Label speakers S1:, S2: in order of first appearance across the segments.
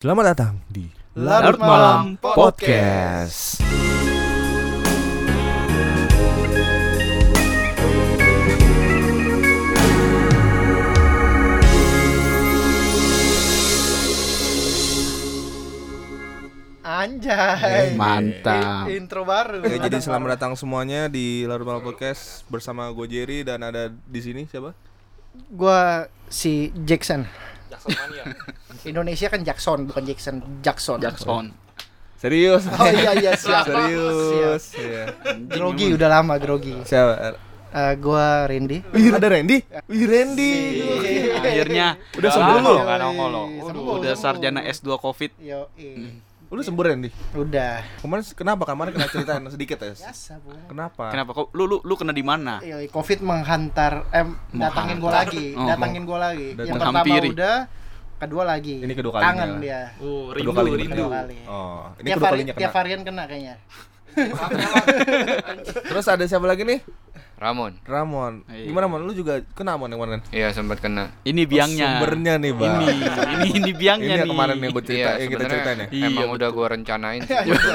S1: Selamat datang di
S2: Larut Malam Podcast.
S3: Anjay.
S2: Eh, mantap.
S3: I- intro baru.
S1: Ya, jadi selamat datang semuanya di Larut Malam Podcast bersama gue Jerry dan ada di sini siapa?
S3: Gua si Jackson. Indonesia kan Jackson bukan Jackson, Jackson.
S2: Jackson. Serius.
S3: Oh iya iya siap.
S1: Serius.
S3: Siap.
S1: Iya.
S3: Grogi udah lama grogi.
S1: Siapa?
S3: Eh, gua Randy.
S1: Wih, ada Randy? Wih, Randy.
S2: Akhirnya
S1: Iya. Udah sembuh
S2: lama
S1: lu?
S2: nggak nongol lo.
S3: Sembuh,
S2: Udah,
S3: sembuh.
S2: udah sarjana S2 Covid.
S3: Yo,
S1: Lu sembuh Randy?
S3: udah.
S1: Kemarin kenapa? Kemarin kena ceritain sedikit ya.
S3: Biasa, Bu.
S1: Kenapa?
S2: Kenapa kok lu lu, lu kena
S1: Iya.
S2: di mana?
S3: Yoi, Covid menghantar eh datangin gua
S2: Menghantar.
S3: lagi,
S2: Oh,
S3: datangin gua lagi.
S1: Dat-
S3: Yang
S2: menghampiri.
S3: pertama udah, kedua lagi.
S1: Ini kedua kalinya
S3: Tangan
S1: lah.
S3: dia.
S4: Oh,
S1: Kedua
S4: rindu,
S1: kali kena.
S4: rindu.
S3: Kedua kali.
S1: Oh, ini
S3: tiap,
S1: kedua
S3: vari-
S1: kalinya
S3: tiap
S1: kena.
S3: varian kena kayaknya.
S1: Terus ada siapa lagi nih?
S5: Ramon.
S1: Ramon.
S2: Iya.
S1: Gimana, Mon? Lu juga kena Mon yang kemarin?
S5: Iya sempat kena.
S2: Ini biangnya.
S1: Oh, Sumbernya nih, Bang.
S2: Ini ini ini biangnya
S1: Ini yang
S2: nih.
S1: kemarin yang gue cerita,
S5: iya,
S1: yang kita
S5: sebenarnya
S1: ceritain ya. Iya,
S2: Iya,
S5: Emang
S2: betul.
S5: udah gua rencanain.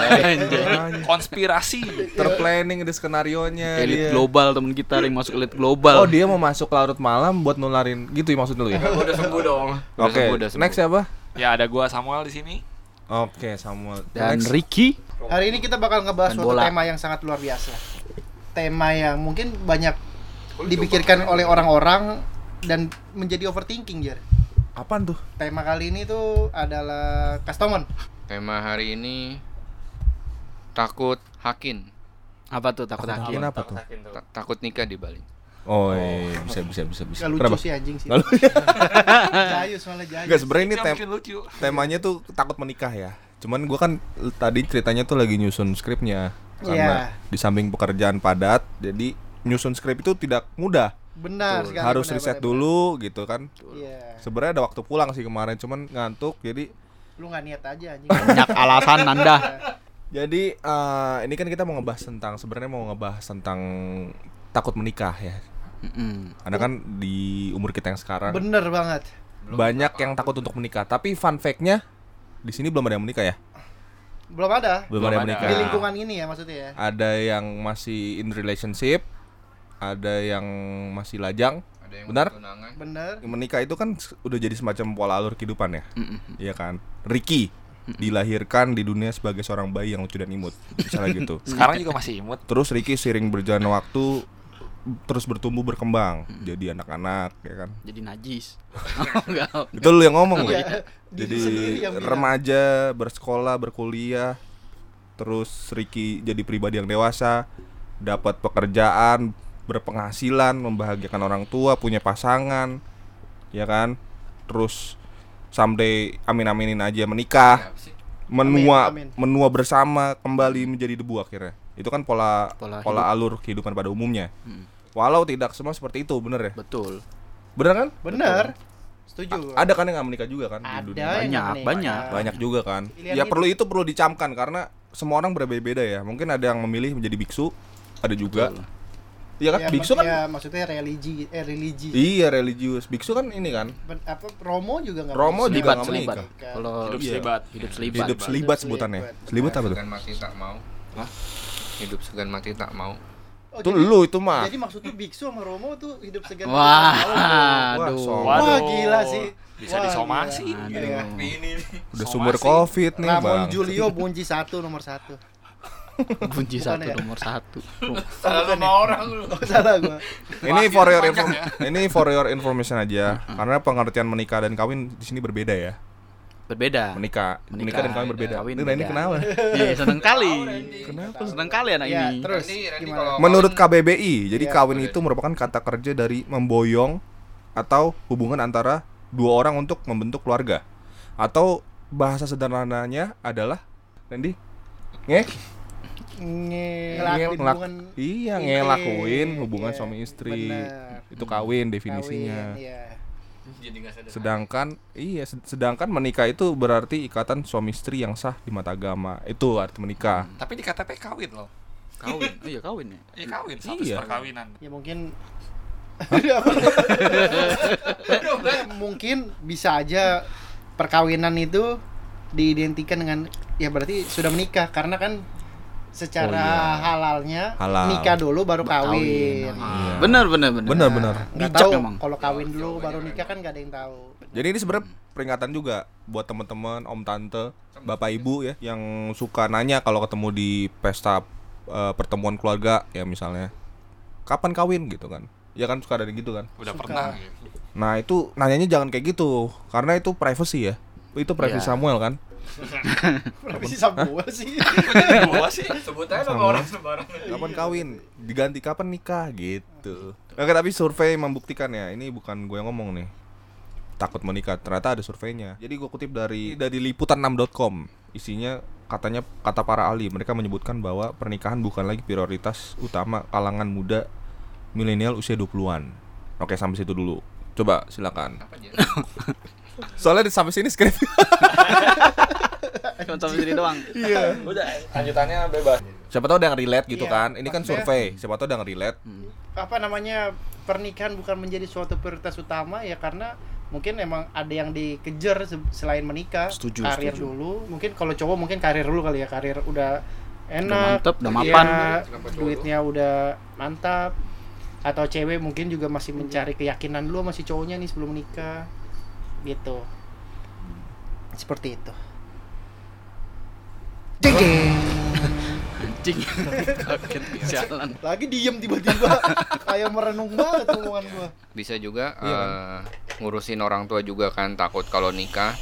S2: Anjay.
S4: Konspirasi.
S1: Terplanning di skenario-nya
S2: Elit
S1: dia.
S2: global temen kita ada yang masuk elit
S1: Iya. Oh,
S2: global.
S1: dia mau masuk larut malam buat nularin gitu ya maksud lu ya?
S5: udah sembuh dong.
S1: Oke, next siapa?
S4: Ya ada gua Samuel di sini.
S1: Oke, Samuel.
S2: Dan
S1: Next.
S2: Ricky
S3: Hari ini kita bakal ngebahas
S2: Main
S3: suatu
S2: bola.
S3: tema yang sangat luar biasa. Tema yang mungkin banyak dipikirkan oleh orang-orang dan menjadi overthinking, Jer.
S1: apaan tuh?
S3: Tema kali ini tuh adalah customer.
S5: Tema hari ini takut hakin,
S2: apa tuh takut hakim?
S1: Kenapa tuh?
S5: Ta- takut nikah di Bali.
S1: Oh, iya, bisa bisa bisa bisa.
S3: Gak lucu
S1: Kenapa?
S3: sih anjing sih.
S1: Nggak
S3: jayus malah jayus.
S1: Enggak sebenarnya ini
S4: Ini
S1: tem
S4: bikin lucu.
S1: temanya tuh takut menikah ya. Cuman gua kan l- tadi ceritanya tuh lagi nyusun skripnya karena di samping pekerjaan padat, jadi nyusun skrip itu tidak mudah.
S3: Benar sekali.
S1: Harus
S3: benar,
S1: riset
S3: benar,
S1: dulu gitu kan.
S3: benar. Iya.
S1: Sebenarnya ada waktu pulang sih kemarin, cuman ngantuk jadi
S3: Lu gak niat aja anjing.
S2: Banyak alasan Anda.
S1: Jadi eh, ini kan kita mau ngebahas tentang sebenarnya mau ngebahas tentang takut menikah ya.
S2: Mm-mm.
S1: Karena kan di umur kita yang sekarang
S3: bener banget.
S1: banyak yang takut untuk menikah. Tapi fun fact-nya di sini belum ada yang menikah ya.
S3: Belum ada.
S1: Belum, ada
S4: Belum
S1: yang
S4: ada.
S1: menikah.
S3: Di lingkungan ini ya maksudnya ya.
S1: Ada yang masih in relationship, ada yang masih lajang.
S5: Ada yang
S1: Benar?
S5: tunangan.
S3: Bener.
S1: Menikah itu kan s- udah jadi semacam pola alur kehidupan ya.
S2: Mm-mm.
S1: Iya kan? Ricky dilahirkan di dunia sebagai seorang bayi yang lucu dan imut. Misalnya gitu.
S4: Sekarang juga masih imut.
S1: Terus Ricky sering berjalan waktu terus bertumbuh berkembang jadi anak-anak ya kan
S2: Jadi najis. Enggak.
S1: itu lu yang ngomong loh
S3: Iya.
S1: jadi
S3: Diri sendiri yang bilang.
S1: remaja bersekolah berkuliah terus Ricky jadi pribadi yang dewasa dapat pekerjaan berpenghasilan membahagiakan orang tua punya pasangan ya kan terus someday amin aminin aja menikah
S5: Apa sih?
S1: menua
S3: Iya, Amin, amin.
S1: menua bersama kembali menjadi debu akhirnya itu kan pola pola,
S2: Pola
S1: alur kehidupan pada umumnya
S3: Hmm.
S2: Mm.
S1: walau tidak semua seperti itu bener ya
S2: Betul.
S1: bener kan
S3: Bener. Setuju.
S1: ada kan yang nggak menikah juga kan di
S3: Ada
S1: dunia.
S3: yang
S2: Banyak,
S3: menikah.
S2: banyak.
S1: banyak juga kan
S3: Pilihan
S1: ya
S3: hidup.
S1: perlu itu perlu dicamkan karena semua orang berbeda-beda ya mungkin ada yang memilih menjadi biksu ada juga
S2: Betul.
S1: iya kan
S3: Ya,
S1: biksu
S3: mak-
S1: kan
S3: ya, maksudnya religi eh religi
S1: iya religius biksu kan ini kan
S3: Ben- apa Romo juga nggak
S1: Romo
S3: bisa.
S1: Oh, juga
S2: Selibat,
S1: nggak
S2: selibat.
S1: menikah
S2: Kalau
S4: Hidup
S1: Iya.
S4: selibat.
S2: hidup selibat.
S1: hidup
S4: Hidup
S1: selibat
S3: selibat.
S1: sebutannya selibat apa tuh
S5: Segan mati tak mau. Hah? Hidup segan mati tak mau.
S3: Oh,
S1: itu
S3: jadi-
S1: lu itu mah
S3: Jadi maksudnya biksu sama Romo tuh hidup segan.
S1: Oh,
S2: Wah,
S1: Wah,
S2: aduh.
S1: sombong.
S3: Wah, gila sih.
S4: Bisa
S3: Wah,
S4: disomasi.
S3: gila.
S2: Aduh.
S3: Iya.
S5: Ini
S1: udah
S4: Somasi.
S1: sumber covid nih
S3: Ramon
S1: bang
S3: Julio Bunji satu nomor satu.
S2: Kunci
S3: Bukan
S2: satu
S3: ya?
S2: nomor satu.
S5: salah sama orang lu.
S3: Oh, salah gua.
S1: ini for your inform ini for your information aja karena pengertian menikah dan kawin di sini berbeda ya
S2: Berbeda.
S1: menikah menikah,
S2: Menikah.
S1: dan kawin berbeda
S2: Kawin
S1: ini, nah, ini
S2: beda.
S1: kenapa
S2: Iya, seneng kali. Iya,
S1: Kenapa?
S2: Seneng kali anak
S3: Ya,
S2: Nah, ini.
S3: terus
S5: Randy, Randy
S3: gimana?
S5: kalau-
S1: Menurut KBBI, jadi
S3: Iya.
S1: kawin itu merupakan kata kerja dari memboyong atau hubungan antara dua orang untuk membentuk keluarga. Atau bahasa sederhananya adalah Randy nge
S3: Nge-
S1: nge-
S3: ngelakuin
S1: ngelak-
S3: hubungan
S1: iya
S3: intim.
S1: ngelakuin hubungan
S3: Iya,
S1: suami istri
S3: benar.
S1: itu kawin
S3: Kawin,
S1: definisinya
S3: iya.
S5: Jadi enggak sadar.
S1: sedangkan iya sed- sedangkan menikah itu berarti ikatan suami istri yang sah di mata agama itu arti menikah
S4: Tapi di KTP kawin loh.
S2: Kawin. Oh iya kawin ya.
S4: Ya kawin, status
S1: Iya.
S4: perkawinan.
S3: Ya mungkin mungkin bisa aja perkawinan itu diidentikan dengan ya berarti sudah menikah karena kan secara
S1: Oh, iya.
S3: halalnya
S1: Halal.
S3: nikah dulu baru
S2: Kawin. Ah.
S3: kawin.
S1: Iya.
S2: Benar benar benar.
S1: Benar, benar.
S3: Nggak
S2: Bijak
S3: tahu
S2: memang.
S3: kalau kawin dulu
S5: Jawabannya
S3: baru
S5: memang.
S3: nikah kan nggak ada yang tahu.
S1: Jadi ini sebenarnya peringatan juga buat teman-teman, om tante, bapak ibu ya yang suka nanya kalau ketemu di pesta eh, pertemuan keluarga ya misalnya kapan kawin gitu kan. Ya kan suka ada gitu kan.
S4: Udah
S3: Suka.
S4: pernah gitu.
S1: Nah, itu nanyanya jangan kayak gitu karena itu privacy ya. Itu privacy
S2: Iya.
S1: Samuel kan.
S3: Kenapa sih Samuel sih?
S4: Gua sih.
S5: Sebut aja
S1: Sama.
S5: sama orang sembarang.
S1: Kapan kawin? Diganti kapan nikah gitu. Oke, tapi survei membuktikan ya. Ini bukan gue yang ngomong nih. Takut menikah. Ternyata ada surveinya. Jadi gue kutip dari dari liputan6.com. Isinya katanya kata para ahli, mereka menyebutkan bahwa pernikahan bukan lagi prioritas utama kalangan muda milenial usia 20-an. Oke, sampai situ dulu. Coba silakan.
S5: Apa dia?
S1: Soalnya di- sampai sini skrip.
S2: Cuma sampai sini doang.
S1: Iya.
S5: Udah, lanjutannya bebas.
S1: Siapa tahu ada yang relate gitu
S3: Iya,
S1: kan. Ini kan
S3: maksudnya-
S1: survei. Siapa tahu ada yang relate.
S2: Hmm.
S3: Apa namanya pernikahan bukan menjadi suatu prioritas utama ya karena mungkin emang ada yang dikejar se- selain menikah
S2: Setuju,
S3: karir
S2: setuju.
S3: dulu mungkin kalau cowok mungkin karir dulu kali ya karir udah enak
S2: mantep, udah
S3: iya,
S2: mapan.
S5: Kenapa cowok
S3: duitnya udah mantap atau cewek mungkin juga masih mencari keyakinan dulu masih cowoknya nih sebelum menikah gitu seperti itu Jeng-jeng.
S2: Anjing. Kaget sialan.
S3: lagi diem tiba-tiba kayak merenung banget omongan gua
S5: Bisa juga
S1: Iya kan?
S5: eh, ngurusin orang tua juga kan takut kalau nikah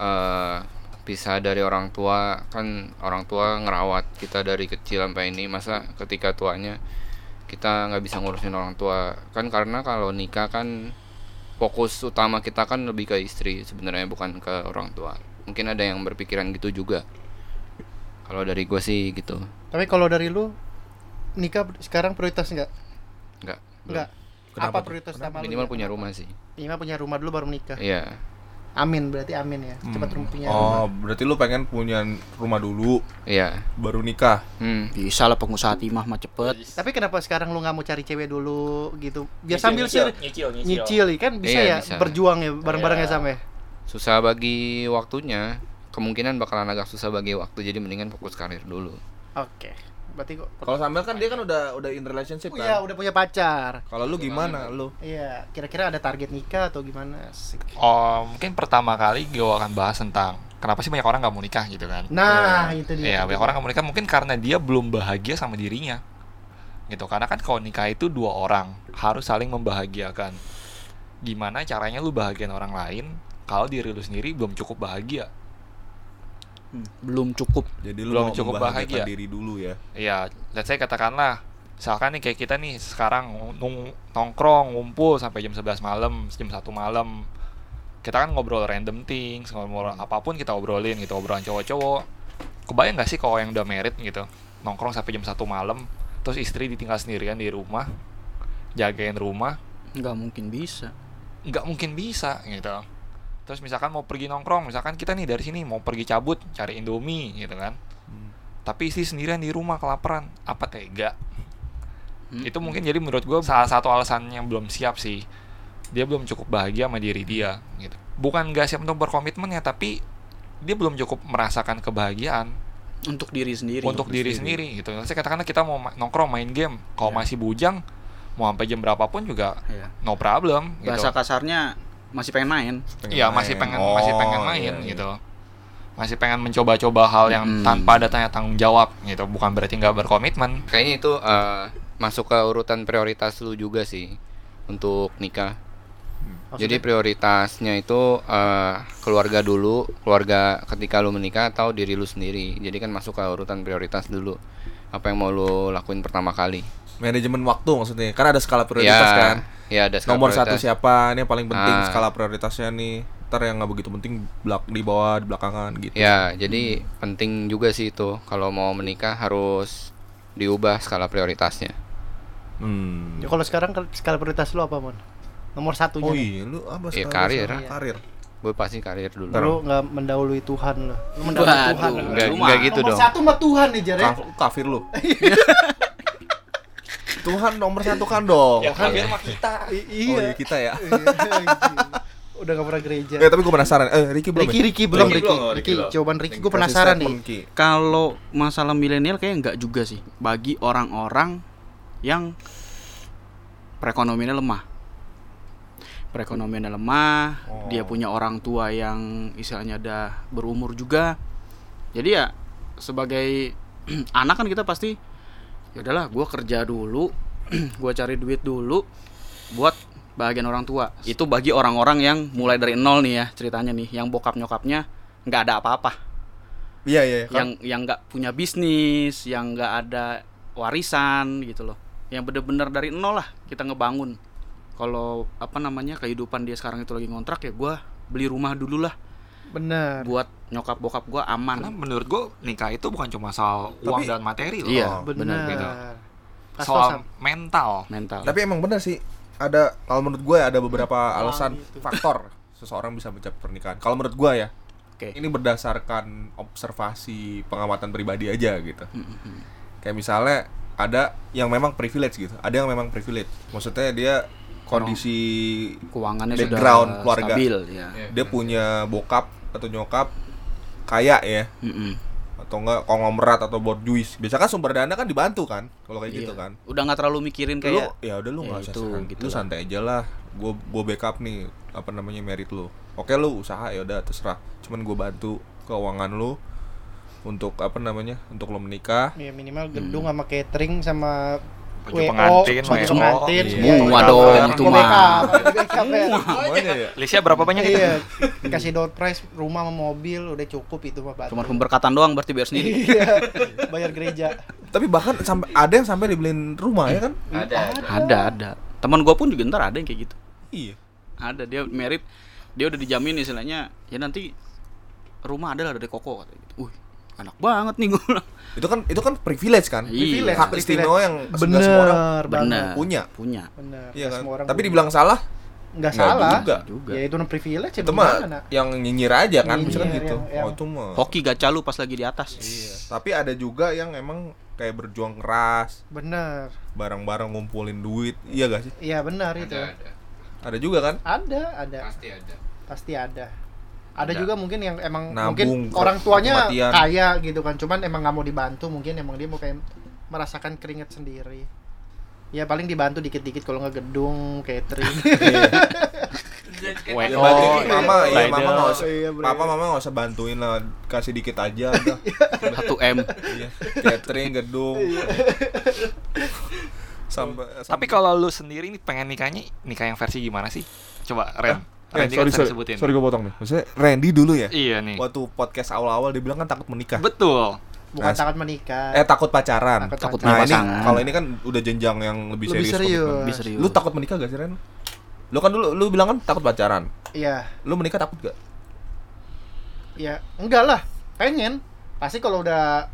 S5: eh bisa dari orang tua kan orang tua ngerawat kita dari kecil sampai ini masa ketika tuanya kita nggak bisa ngurusin orang tua kan karena kalau nikah kan fokus utama kita kan lebih ke istri sebenarnya bukan ke orang tua mungkin ada yang berpikiran gitu juga kalau dari gue sih gitu
S3: tapi kalau dari lu nikah sekarang prioritas nggak
S5: nggak belum.
S3: nggak
S1: Kenapa
S3: apa
S1: tuh?
S3: prioritas utama lu
S5: minimal
S3: ya?
S5: punya rumah sih
S3: minimal punya rumah dulu baru menikah
S5: iya
S3: amin berarti amin ya cepat
S1: Hmm.
S3: rumah punya rumah
S1: Oh, berarti lu pengen punya rumah dulu
S5: iya
S1: baru nikah.
S5: hmm.
S2: Bisa lah pengusaha timah mah cepet.
S3: tapi kenapa sekarang lu nggak mau cari cewek dulu gitu
S6: Nyicil,
S3: biar sambil sih
S6: nyicil, nyicil.
S3: nyicil kan bisa
S5: Iya,
S3: ya
S5: bisa.
S3: berjuang ya bareng-bareng ya sama ya
S5: susah bagi waktunya kemungkinan bakalan agak susah bagi waktu jadi mendingan fokus karir dulu
S3: oke berarti kok
S1: Kalau Samuel kan dia kan udah udah in relationship
S3: iya
S1: kan.
S3: udah punya pacar
S1: Kalau lu gimana lu?
S3: iya kira-kira ada target nikah atau gimana sih?
S4: Oh, mungkin pertama kali gue akan bahas tentang kenapa sih banyak orang nggak mau nikah gitu kan?
S3: nah itu dia
S4: Iya, banyak orang nggak mau nikah mungkin karena dia belum bahagia sama dirinya. Gitu, karena kan kalau nikah itu dua orang harus saling membahagiakan. Gimana caranya lu bahagiain orang lain kalau diri lu sendiri belum cukup bahagia?
S2: Hmm. Belum cukup.
S1: Jadi lu
S4: Belum
S1: mau
S4: cukup
S1: membahagiakan
S4: bahagia.
S1: diri dulu ya.
S4: Iya, let's say katakanlah misalkan nih kayak kita nih sekarang nung- nongkrong ngumpul sampai jam 11 malam, jam 1 malam. Kita kan ngobrol random things, ngobrol apapun kita obrolin gitu, obrolan cowok-cowok. Kebayang nggak sih kalau yang udah married gitu, nongkrong sampai jam 1 malam, terus istri ditinggal sendirian di rumah, jagain rumah,
S2: Nggak mungkin bisa.
S4: nggak mungkin bisa gitu. Terus misalkan mau pergi nongkrong, misalkan kita nih dari sini mau pergi cabut cari Indomie gitu kan. Tapi istri sendirian di rumah kelaparan, apa tega?
S2: Hmm.
S4: itu mungkin jadi menurut gue salah satu alasan yang belum siap sih dia belum cukup bahagia sama diri dia gitu bukan gak siap untuk berkomitmen ya tapi dia belum cukup merasakan kebahagiaan
S2: untuk diri sendiri.
S4: untuk diri sendiri, Iya. gitu saya katakanlah kita mau ma- nongkrong main game kalau masih bujang mau sampai jam berapapun juga
S2: Iya.
S4: no problem gitu
S2: Bahasa kasarnya masih pengen main.
S4: Iya masih pengen masih pengen main
S1: iya, iya.
S4: gitu masih pengen mencoba-coba hal yang
S2: Mm.
S4: tanpa ada tanya tanggung jawab gitu bukan berarti nggak berkomitmen
S5: kayaknya itu eh, masuk ke urutan prioritas lu juga sih untuk nikah
S1: Hmm.
S5: jadi prioritasnya itu eh, keluarga dulu keluarga ketika lu menikah atau diri lu sendiri jadi kan masuk ke urutan prioritas dulu apa yang mau lu lakuin pertama kali
S1: Manajemen waktu maksudnya. Karena ada skala prioritas
S4: Iya,
S1: kan.
S5: ya ada skala
S1: Nomor satu
S5: prioritas.
S1: siapa? Ini yang paling penting
S5: Ah.
S1: skala prioritasnya nih. Ntar yang nggak begitu penting belak di bawah di belakangan gitu.
S4: Iya.
S5: Ya, jadi penting juga sih itu kalau mau menikah harus diubah skala prioritasnya.
S1: Hmm.
S3: Ya, kalau sekarang kel- skala prioritas lu apa mon nomor satunya
S1: Oh
S3: nih.
S1: iya, lu apa
S5: Iya,
S1: skala-
S5: karir.
S1: skala- Karir.
S5: Gue pasti karir dulu.
S3: lu nggak mendahului Tuhan lo lu mendahului
S2: Waduh,
S3: Tuhan lu.
S5: Enggak,
S2: Cuma.
S5: enggak gitu
S3: nomor
S5: dong.
S3: satu mah Tuhan nih Jar ya
S1: Kaf- kafir lu. Tuhan nomor satu kan dong.
S4: kan biar kita
S3: I-
S1: Oh iya
S3: iya
S1: kita ya.
S3: Iya, anjing. udah gak pernah gereja.
S1: Eh tapi gue penasaran. Eh Ricky belum.
S3: Ricky,
S1: ya?
S3: Ricky belum,
S6: Ricky
S3: Ricky.
S6: belum, oh, Ricky
S3: Ricky,
S6: belum.
S3: jawaban Ricky
S1: Kasih
S3: gue penasaran
S1: statement,
S3: nih.
S1: Ki.
S2: Kalau masalah milenial kayaknya enggak juga sih bagi orang-orang yang perekonomiannya lemah. Perekonomiannya lemah,
S1: Oh.
S2: dia punya orang tua yang istilahnya ada berumur juga. Jadi ya sebagai anak kan kita pasti ya udahlah gua kerja dulu, gua cari duit dulu buat bagian orang tua. Itu bagi orang-orang yang mulai dari nol nih ya ceritanya nih, yang bokap nyokapnya nggak ada apa-apa
S1: Iya iya. Kan?
S2: yang yang nggak punya bisnis, yang nggak ada warisan gitu loh. Yang bener-bener dari nol lah kita ngebangun. Kalau apa namanya kehidupan dia sekarang itu lagi ngontrak ya gua beli rumah dulu lah
S3: Bener.
S2: buat nyokap bokap gua
S4: Karena
S2: aman.
S4: menurut gue nikah itu bukan cuma soal uang
S1: Tapi-
S4: dan materi loh.
S1: Oh,
S2: Iya,
S3: Bener.
S2: benar gitu.
S3: Pas
S4: Soal
S3: pasan.
S4: mental.
S2: Mental.
S1: Tapi emang bener sih. Ada kalau menurut gue ada beberapa alasan
S2: gitu.
S3: itu.
S1: faktor seseorang bisa mencapai pernikahan. Kalau menurut gue ya.
S2: Oke.
S1: Ini berdasarkan observasi pengamatan pribadi aja gitu.
S2: Hmm,
S1: Kayak misalnya ada yang memang privilege gitu. Ada yang memang privilege. Maksudnya dia kondisi
S2: Keuangannya
S1: Background
S2: sudah
S1: keluarga.
S2: stabil ya.
S1: dia punya bokap atau nyokap kaya ya
S2: Mm-mm.
S1: atau enggak konglomerat atau borjuis biasa kan sumber dana kan dibantu kan kalau kayak
S2: Iya.
S1: gitu kan
S2: Udah nggak terlalu mikirin
S1: lu
S2: kayak
S1: ya udah lu
S2: ya
S1: nggak usah
S2: itu,
S1: sekarang.
S2: gitu
S1: lu
S2: lah.
S1: santai aja lah gue gue backup nih apa namanya merit lu oke lu usaha ya udah terserah cuman gue bantu keuangan lu untuk apa namanya untuk lo menikah
S3: Ya minimal gedung sama catering sama
S4: Baju pengantin,
S3: baju
S4: WO.
S3: pengantin,
S1: Iya.
S3: semua
S2: Semua
S3: itu.
S2: dong, itu
S3: Semua
S2: mah.
S3: backup, backup, ya.
S1: semuanya ya
S4: Lisha berapa banyak itu?
S3: Iya, kasih door prize, rumah sama mobil udah cukup itu mah Pak.
S2: cuma pemberkatan doang berarti biar sendiri.
S3: Iya, bayar gereja.
S1: tapi bahkan sampai ada yang sampai dibeliin rumah ya kan
S5: ada
S2: ada ada. Teman gua pun juga ntar ada yang kayak gitu.
S1: iya
S2: ada dia merit dia udah dijamin istilahnya ya nanti rumah ada lah dari koko kata gitu. Wih, enak banget nih gue. bilang.
S1: itu kan itu kan privilege kan
S2: Iya.
S1: hak ya.
S3: privilege.
S1: istimewa yang nggak semua orang
S2: Bener.
S3: banget.
S1: punya
S2: Punya.
S3: Bener.
S1: iya
S3: nggak
S1: kan
S3: semua orang
S1: tapi
S3: punya.
S1: dibilang salah
S3: nggak
S1: nggak
S3: salah.
S1: juga.
S2: Juga.
S3: Ya itu namanya privilege ya
S1: itu mah
S3: nak?
S1: yang nyinyir aja kan
S3: Nyinyir,
S1: misalkan gitu
S3: yang- yang-
S1: oh itu mah
S2: Hoki gacha lu pas lagi di atas.
S1: Iya. tapi ada juga yang emang kayak berjuang keras
S3: Bener.
S1: bareng-bareng ngumpulin duit iya gak sih
S3: Iya benar itu. Ada,
S5: ada ada
S1: ada juga kan
S3: ada,
S5: pasti ada
S3: Pasti ada. Ada
S5: Ada.
S3: juga mungkin yang emang
S1: Nabung
S3: mungkin
S1: ke-
S3: orang tuanya
S1: kematian.
S3: kaya gitu kan, cuman emang nggak mau dibantu, mungkin emang dia mau kayak merasakan keringat sendiri. Ya paling dibantu dikit-dikit kalau nggak gedung, catering.
S4: WO,
S1: Ya, berarti mama iya
S4: rider.
S1: mama nggak usah
S3: Iya, bener.
S1: papa mama nggak usah bantuin lah kasih dikit aja udah
S2: Satu M.
S1: iya. catering gedung sampai
S4: Tapi kalau lu sendiri nih pengen nikahnya nikah yang versi gimana sih? Coba
S1: eh,
S4: Ren.
S1: sorry
S4: Randy kan sering
S1: sorry
S4: sebutin.
S1: sorry gue potong nih maksudnya Randy dulu ya
S4: Iya nih.
S1: waktu podcast awal-awal dia bilang kan takut menikah
S4: Betul.
S3: Bukan
S1: Nah,
S3: sangat menikah.
S1: eh takut pacaran
S3: Takut
S2: Takut
S1: nah ini
S2: punya pasangan.
S1: kalau ini kan udah jenjang yang lebih,
S3: Lebih
S1: serius,
S3: serius.
S1: komitmen.
S2: Lebih serius.
S1: lu takut menikah gak sih Ren lu kan dulu lu bilang kan takut pacaran
S3: Iya,
S1: lu menikah takut gak
S3: ya enggak lah. Pengen. Pasti kalau udah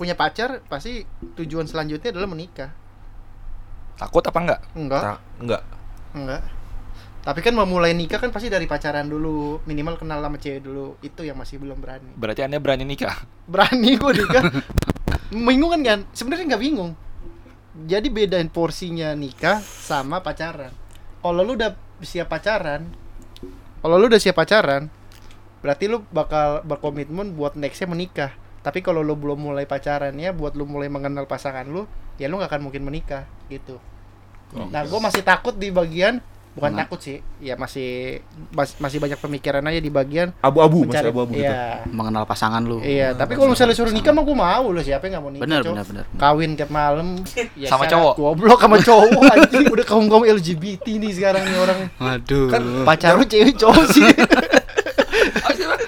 S3: punya pacar, pasti tujuan selanjutnya adalah menikah.
S4: Takut apa enggak?
S3: Enggak.
S1: Tak- enggak
S3: Enggak. Tapi kan memulai nikah kan pasti dari pacaran dulu, minimal kenal sama cewek dulu. Itu yang masih belum berani.
S4: Berarti Anda berani nikah.
S3: Berani gue nikah. bingung kan kan? Sebenarnya nggak bingung. Jadi bedain porsinya nikah sama pacaran. Kalau lu udah siap pacaran, kalau lu udah siap pacaran, berarti lu bakal berkomitmen buat nextnya menikah. Tapi kalau lu belum mulai pacaran ya, buat lu mulai mengenal pasangan lu, ya lu nggak akan mungkin menikah gitu.
S1: Oh,
S3: Nah, gue masih takut di bagian bukan
S2: Mana?
S3: takut sih, ya masih mas- masih banyak pemikiran aja di bagian
S1: abu-abu
S3: mencari.
S1: masih abu-abu gitu
S3: iya,
S2: Mengenal pasangan lu.
S3: iya. Tapi kalau misalnya suruh nikah mah Kan- gue mau loh siapa yang nggak mau nikah?
S2: Bener
S3: Cok?
S2: bener bener.
S3: Kawin tiap malam ya
S4: Sama
S3: syarat
S4: cowok.
S3: Goblok sama cowok anjing. Udah kaum kaum LGBT nih sekarang nih orang.
S2: Waduh.
S3: Pacar lu cewek cowok sih.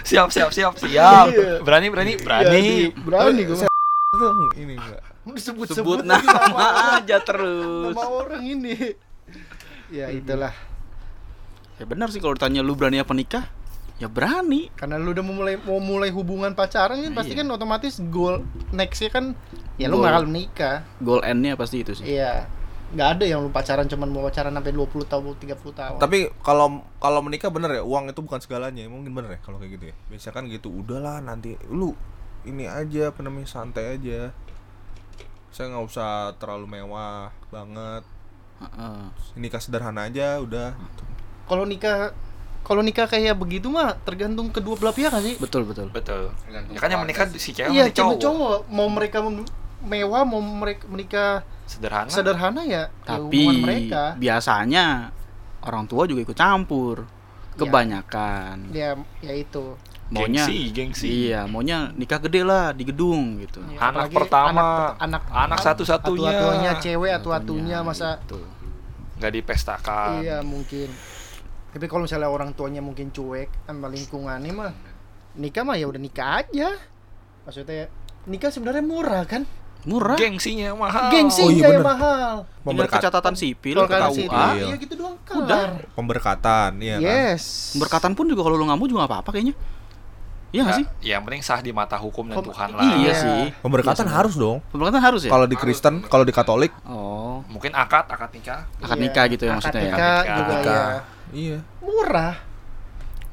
S4: siap, siap, siap, siap.
S3: Iya.
S4: Berani, berani,
S3: Ya,
S4: berani.
S3: berani gue.
S1: Itu ini enggak
S3: Sebut
S2: Sebut nama aja terus.
S3: nama orang ini. Ya itulah.
S2: Ya bener sih kalau ditanya lu berani apa nikah? Ya berani.
S3: karena lu udah mau mulai mau mulai hubungan pacaran kan
S2: Nah,
S3: pasti
S2: iya.
S3: kan otomatis goal nextnya kan ya lu
S2: Goal.
S3: bakal menikah
S2: Goal end-nya pasti itu sih.
S3: iya nggak ada yang lu pacaran cuman mau pacaran sampai 20 tahun 30 tahun
S1: tapi kalau kalau menikah bener ya uang itu bukan segalanya mungkin bener ya kalau kayak gitu ya biasanya kan gitu udahlah nanti lu ini aja apa namanya santai aja saya nggak usah terlalu mewah banget
S2: Heeh.
S1: nikah sederhana aja udah
S3: kalau nikah kalau nikah kayak begitu mah tergantung kedua belah pihak nggak sih
S2: Betul betul.
S4: Betul. Ya kan yang menikah si cewek
S3: iya
S4: sama si
S3: cowok.
S4: cowok.
S3: cowok mau mereka mem- mewah mau mereka menikah
S4: Sederhana.
S3: sederhana ya ya hubungan
S2: Tapi
S3: mereka
S2: biasanya orang tua juga ikut campur.
S3: Iya.
S2: Kebanyakan
S3: ya ya itu
S2: maunya
S4: Gengsi, gengsi.
S2: Iya, maunya nikah gede lah di gedung gitu.
S1: Iya.
S3: Ya,
S4: Anak
S3: apalagi
S4: pertama.
S3: anak,
S4: Anak satu-satunya.
S3: atunya cewek atu atunya masa
S2: gitu.
S4: Nggak dipestakan.
S3: iya mungkin tapi kalau misalnya orang tuanya mungkin cuek sama lingkungannya mah nikah mah ya udah nikah aja maksudnya nikah sebenarnya murah kan
S2: murah.
S4: Gengsinya mahal.
S1: Oh,
S3: gengsi
S1: iya
S3: yang
S1: bener.
S3: mahal
S2: Tinggal
S1: Pemberkat-
S2: kecatatan sipil
S3: kalau
S2: ke
S3: kan
S1: KUA.
S3: sih
S2: KUA.
S1: Iya.
S3: iya gitu doang
S2: Udah.
S3: kelar
S1: pemberkatan iya kan
S3: yes
S2: Berkatan pun juga kalau lu nggak mau juga nggak apa-apa kayaknya. Iya nggak
S4: Ya,
S2: sih?
S4: yang penting sah di mata hukum dan
S3: Kom-
S4: Tuhan lah.
S2: Iya,
S3: Iya.
S2: sih.
S1: pemberkatan
S2: Iya,
S1: harus dong
S2: Pemberkatan harus ya?
S1: kalau di Kristen kalau di Katolik
S2: Oh,
S4: Mungkin akad, akad nikah.
S2: akad
S3: Iya,
S2: nikah gitu ya
S3: akad
S2: maksudnya ya.
S3: nikah
S4: Akad
S3: juga
S1: nikah.
S3: ya
S1: iya
S3: murah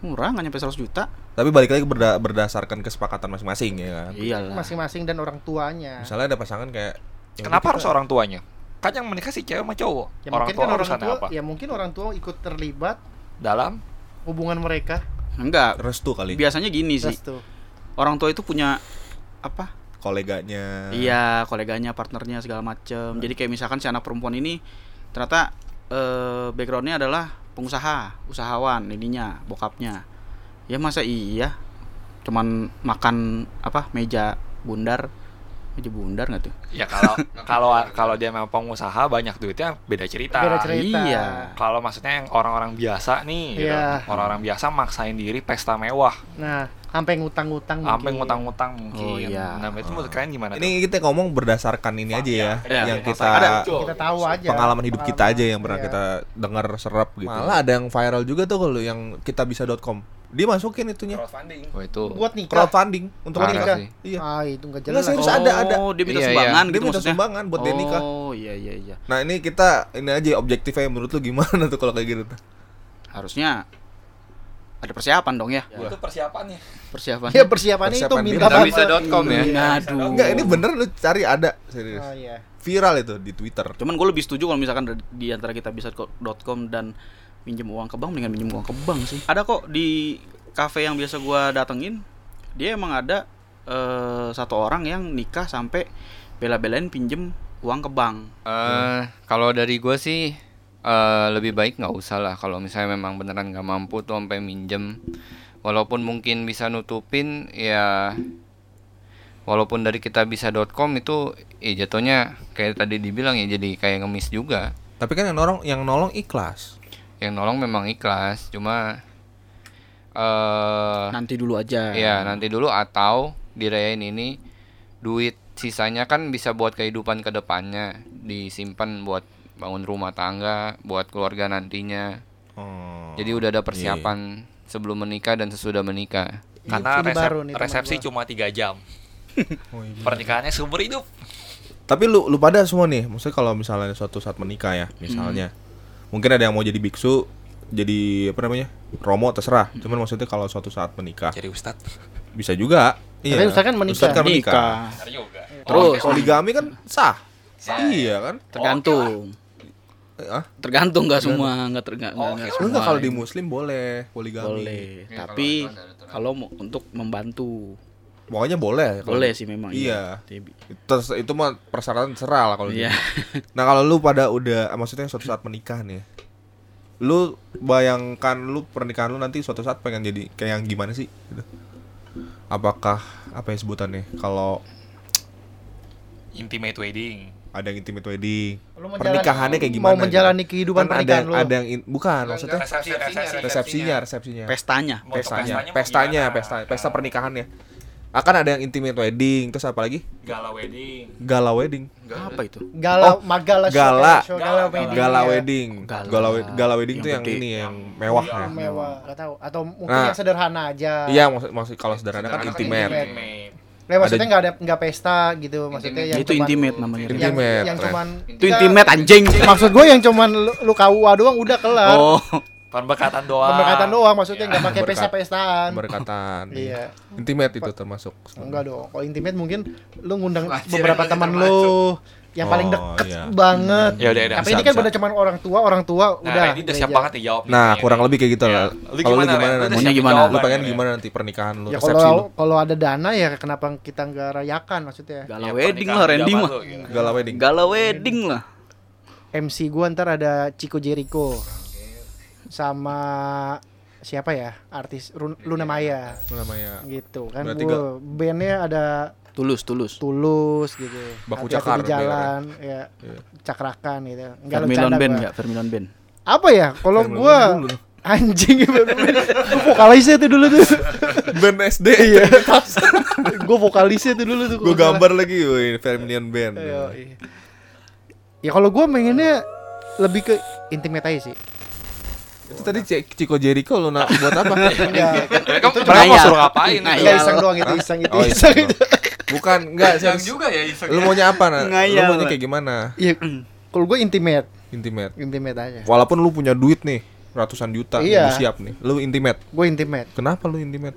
S2: Murah nggak nyampe 100 juta.
S1: tapi balik lagi berda- berdasarkan kesepakatan masing-masing ya kan
S2: Iyalah.
S3: masing-masing dan orang tuanya
S1: misalnya ada pasangan kayak ya
S4: Kenapa
S1: udah
S4: harus orang tuanya? Kan yang menikah si cewek sama cowok.
S3: ya
S4: orang
S3: mungkin
S4: tua
S3: kan orang
S4: urusannya
S3: tua
S4: apa?
S3: ya mungkin orang tua ikut terlibat
S4: Dalam
S3: hubungan mereka
S1: kita
S2: Enggak.
S1: restu kali
S2: Biasanya gini sih.
S3: terus tuh
S2: Orang tua itu punya apa?
S1: koleganya
S2: Iya, koleganya, partnernya segala macem. Jadi kayak misalkan si anak perempuan ini ternyata eh, backgroundnya adalah pengusaha, usahawan, ininya, bokapnya. Ya masa iya, cuman makan apa meja bundar, meja bundar nggak tuh?
S4: ya kalau kalau kalau dia memang pengusaha banyak duitnya beda cerita.
S3: Beda cerita.
S2: Iya.
S4: Kalau maksudnya yang orang-orang biasa nih, gitu.
S3: Iya.
S4: orang-orang biasa maksain diri pesta mewah,
S3: nah sampai ngutang-ngutang
S4: sampai
S3: mungkin.
S4: ngutang-ngutang mungkin.
S2: Oh, iya.
S4: Nah, itu menurut kalian gimana? tuh?
S1: ini kita ngomong berdasarkan ini aja ya
S2: Iya,
S1: yang
S4: iya.
S1: kita
S4: Ada.
S3: kita tahu aja
S1: Oh, pengalaman hidup kita aja yang pernah
S3: Iya.
S1: kita dengar serap gitu. Malah ada yang viral juga tuh kalau yang kitabisa.com. Dia masukin itunya
S4: Crowdfunding.
S5: Oh itu
S3: buat nikah
S1: crowdfunding untuk
S5: parah
S1: nikah.
S5: sih.
S1: Iya.
S3: ah itu
S1: Enggak
S3: nggak jelas
S1: serius ada ada.
S2: Oh, dia minta
S5: Iya, iya.
S2: sumbangan
S1: Dia
S2: gitu
S1: minta
S2: maksudnya.
S1: sumbangan buat dia nikah.
S2: Oh, iya iya iya.
S1: Nah, ini kita ini aja ya, objektifnya menurut lu gimana tuh kalau kayak gitu tuh?
S2: Harusnya ada persiapan dong ya.
S5: Iya.
S4: Itu persiapannya.
S2: Persiapan.
S3: ya persiapannya itu
S1: Persiapan
S3: minta
S1: kita
S3: banget.
S5: bisa.com ya.
S3: Iya.
S2: Aduh.
S1: Enggak, ini bener lu cari ada serius.
S3: oh iya
S1: Viral itu di Twitter.
S2: Cuman gue lebih setuju kalau misalkan di- di antara kita bisa .com dan minjem uang ke bank dengan minjem uang ke bank sih. Ada kok di kafe yang biasa gua datengin, dia emang ada eh, satu orang yang nikah sampai bela-belain pinjem uang ke bank.
S5: Eh, kalau dari gue sih eh, lebih baik nggak usah lah kalau misalnya memang beneran nggak mampu tuh sampai minjem walaupun mungkin bisa nutupin ya walaupun dari kita bisa.com itu ya jatuhnya kayak tadi dibilang ya jadi kayak ngemis juga
S1: Tapi kan yang nolong yang nolong ikhlas.
S5: yang nolong memang ikhlas cuma eh
S2: Nanti dulu aja.
S5: ya nanti dulu atau dirayain ini duit sisanya kan bisa buat kehidupan kedepannya disimpan buat bangun rumah tangga buat keluarga nantinya
S1: Oh.
S5: jadi udah ada persiapan sebelum menikah dan sesudah menikah
S4: Karena
S3: Ini
S4: resep-
S3: baru nih teman
S4: resepsi
S3: gua.
S4: cuma tiga jam. Pernikahannya seumur hidup.
S1: Tapi lu lu pada semua nih, maksudnya kalau misalnya suatu saat menikah ya, misalnya. Mungkin ada yang mau jadi biksu, jadi apa namanya? Romo terserah. Cuman maksudnya kalau suatu saat menikah
S4: Jadi ustadz.
S1: bisa juga.
S3: Tapi Ustaz kan menikah.
S1: Ustaz kan menikah. Oh,
S2: nikah.
S4: Benar juga.
S1: Iya.
S2: Terus
S1: Poligami kan sah. Iya kan?
S2: tergantung.
S1: Eh, ah,
S2: Oh, iya. Tergantung nggak semua, nggak tergantung.
S1: enggak kalau di muslim boleh poligami.
S2: boleh, tapi kalau mau untuk membantu
S1: Pokoknya boleh. kalau-
S2: boleh sih memang.
S1: Iya.
S2: Tapi-
S1: Terus itu mah persyaratan serah lah kalau
S2: Iya.
S1: gitu. Nah, kalau lu pada udah maksudnya suatu saat menikah nih. ya, Lu bayangkan lu pernikahan lu nanti suatu saat pengen jadi kayak yang gimana sih? Gitu. Apakah apa ya sebutannya? Kalau
S4: Intimate wedding.
S1: ada yang intimate wedding,
S3: Lu menjalani-
S1: pernikahannya kayak gimana?
S3: mau menjalani
S1: gitu?
S3: kehidupan
S1: Kan
S3: pernikahan
S1: ada,
S3: lu.
S1: Ada yang in- bukan maksudnya
S4: Resepsi, resepsi.
S1: resepsinya, resepsinya.
S2: Pestanya.
S4: Mau untuk
S1: pestanya,
S4: mau
S1: pestanya,
S4: gimana?
S1: pesta, pesta pernikahannya. Akan ada yang intimate wedding, terus apa lagi?
S4: Gala wedding.
S1: Gala wedding.
S2: Apa itu?
S3: gala
S1: Oh,
S3: magala
S1: gala.
S3: show,
S4: Gala,
S3: gala wedding
S1: Gala
S3: ya.
S1: wedding.
S2: Gala.
S1: Gala, we- gala wedding
S2: Yang
S1: tuh yang
S2: gede.
S1: ini yang mewah ya.
S3: Yang Iya, mewah nggak tahu atau mungkin
S1: Nah.
S3: yang sederhana aja
S1: Iya, maksud maksud kalau sederhana kan
S5: Sederhana kan
S1: intimate.
S3: intimate.
S4: Intimate.
S3: Nah, maksudnya nggak ada nggak pesta gitu maksudnya
S5: Intimate.
S3: yang
S2: itu
S3: cuman-
S2: intimate namanya. Iya,
S3: yang,
S1: Intimate,
S3: yang
S1: Ren.
S3: cuman
S2: Itu intimate anjing.
S3: maksud gue yang cuman lu, lu KUA doang udah kelar
S2: Oh,
S4: Pemberkatan doang.
S3: pemberkatan doang maksudnya nggak pakai
S1: Berkat.
S3: pesta-pestaan
S1: Berkatan.
S3: Iya.
S1: Intimate itu termasuk.
S3: enggak dong kalau intimate mungkin lu ngundang
S5: Wajar,
S3: beberapa
S5: lu
S3: teman
S5: termasuk.
S3: lu yang paling
S1: Oh,
S3: deket
S1: iya.
S3: banget.
S4: Ya udah, udah.
S3: Tapi
S1: Bisa,
S3: ini kan
S1: bisa.
S3: udah cuman orang tua, orang tua
S4: Nah,
S3: udah.
S4: ini udah
S3: gereja.
S4: siap banget nih jawab. nih
S1: Nah,
S4: kayaknya.
S1: kurang lebih kayak gitu
S4: Iya.
S1: lah. Kalau
S4: Lu
S1: lu gimana,
S4: gimana, Ren? Lu
S1: Nan?
S4: udah siapin
S2: Gimana?
S1: Lu
S4: jawaban,
S1: pengen
S4: Ren?
S1: gimana nanti pernikahan lu?
S3: Ya
S1: resepsi lu?
S3: kalau kalau ada dana ya kenapa kita nggak rayakan maksudnya?
S4: Ya,
S2: Galau wedding
S4: pernikahan
S2: lah Randy
S4: zaman
S2: mah.
S4: lu, gitu.
S1: Galau wedding.
S2: Galau wedding lah.
S3: MC gua ntar ada Chico Jericho sama siapa ya artis Run- Luna Maya
S1: Apa namanya?
S3: gitu kan
S1: Iya. Berarti
S3: gue bandnya ada
S2: Tulus, tulus.
S3: Tulus gitu
S1: Baku
S3: Hati-hati
S1: Cakar, Iya.
S3: di jalan ya cakrakan gitu nggak
S2: Vermilion
S3: bercanda
S2: Band
S3: gua.
S2: enggak? Vermilion Band.
S3: apa ya kalau gua anjing gue vokalisnya tuh dulu tuh
S1: Band SD.
S3: iya gue vokalisnya tuh dulu tuh
S1: Gue gambar lagi, woi, Vermilion Band.
S3: Iya. ya kalau gua pengennya lebih ke intimate aja sih
S1: Itu tadi Cik- Chico Jericho lu nak buat apa?
S3: enggak
S4: Ya, kamu
S2: cuma
S4: mereka mau
S2: ayam.
S4: suruh ngapain?
S2: Nah,
S3: enggak
S2: iya.
S3: iseng doang itu iseng itu
S1: Oh,
S3: iseng
S1: iseng
S3: itu
S1: Bukan, enggak serius.
S4: Yang juga ya iseng.
S1: Lu maunya apa, Nak? Lu
S2: Ngayal,
S1: maunya
S2: Nak.
S1: kayak gimana?
S3: Iya, kalau gue intimate,
S1: Intimate.
S3: intimate aja.
S1: Walaupun lu punya duit nih, ratusan juta, nih, lu
S3: Iya.
S1: siap nih. Lu intimate.
S3: Gue intimate.
S1: Kenapa lu intimate?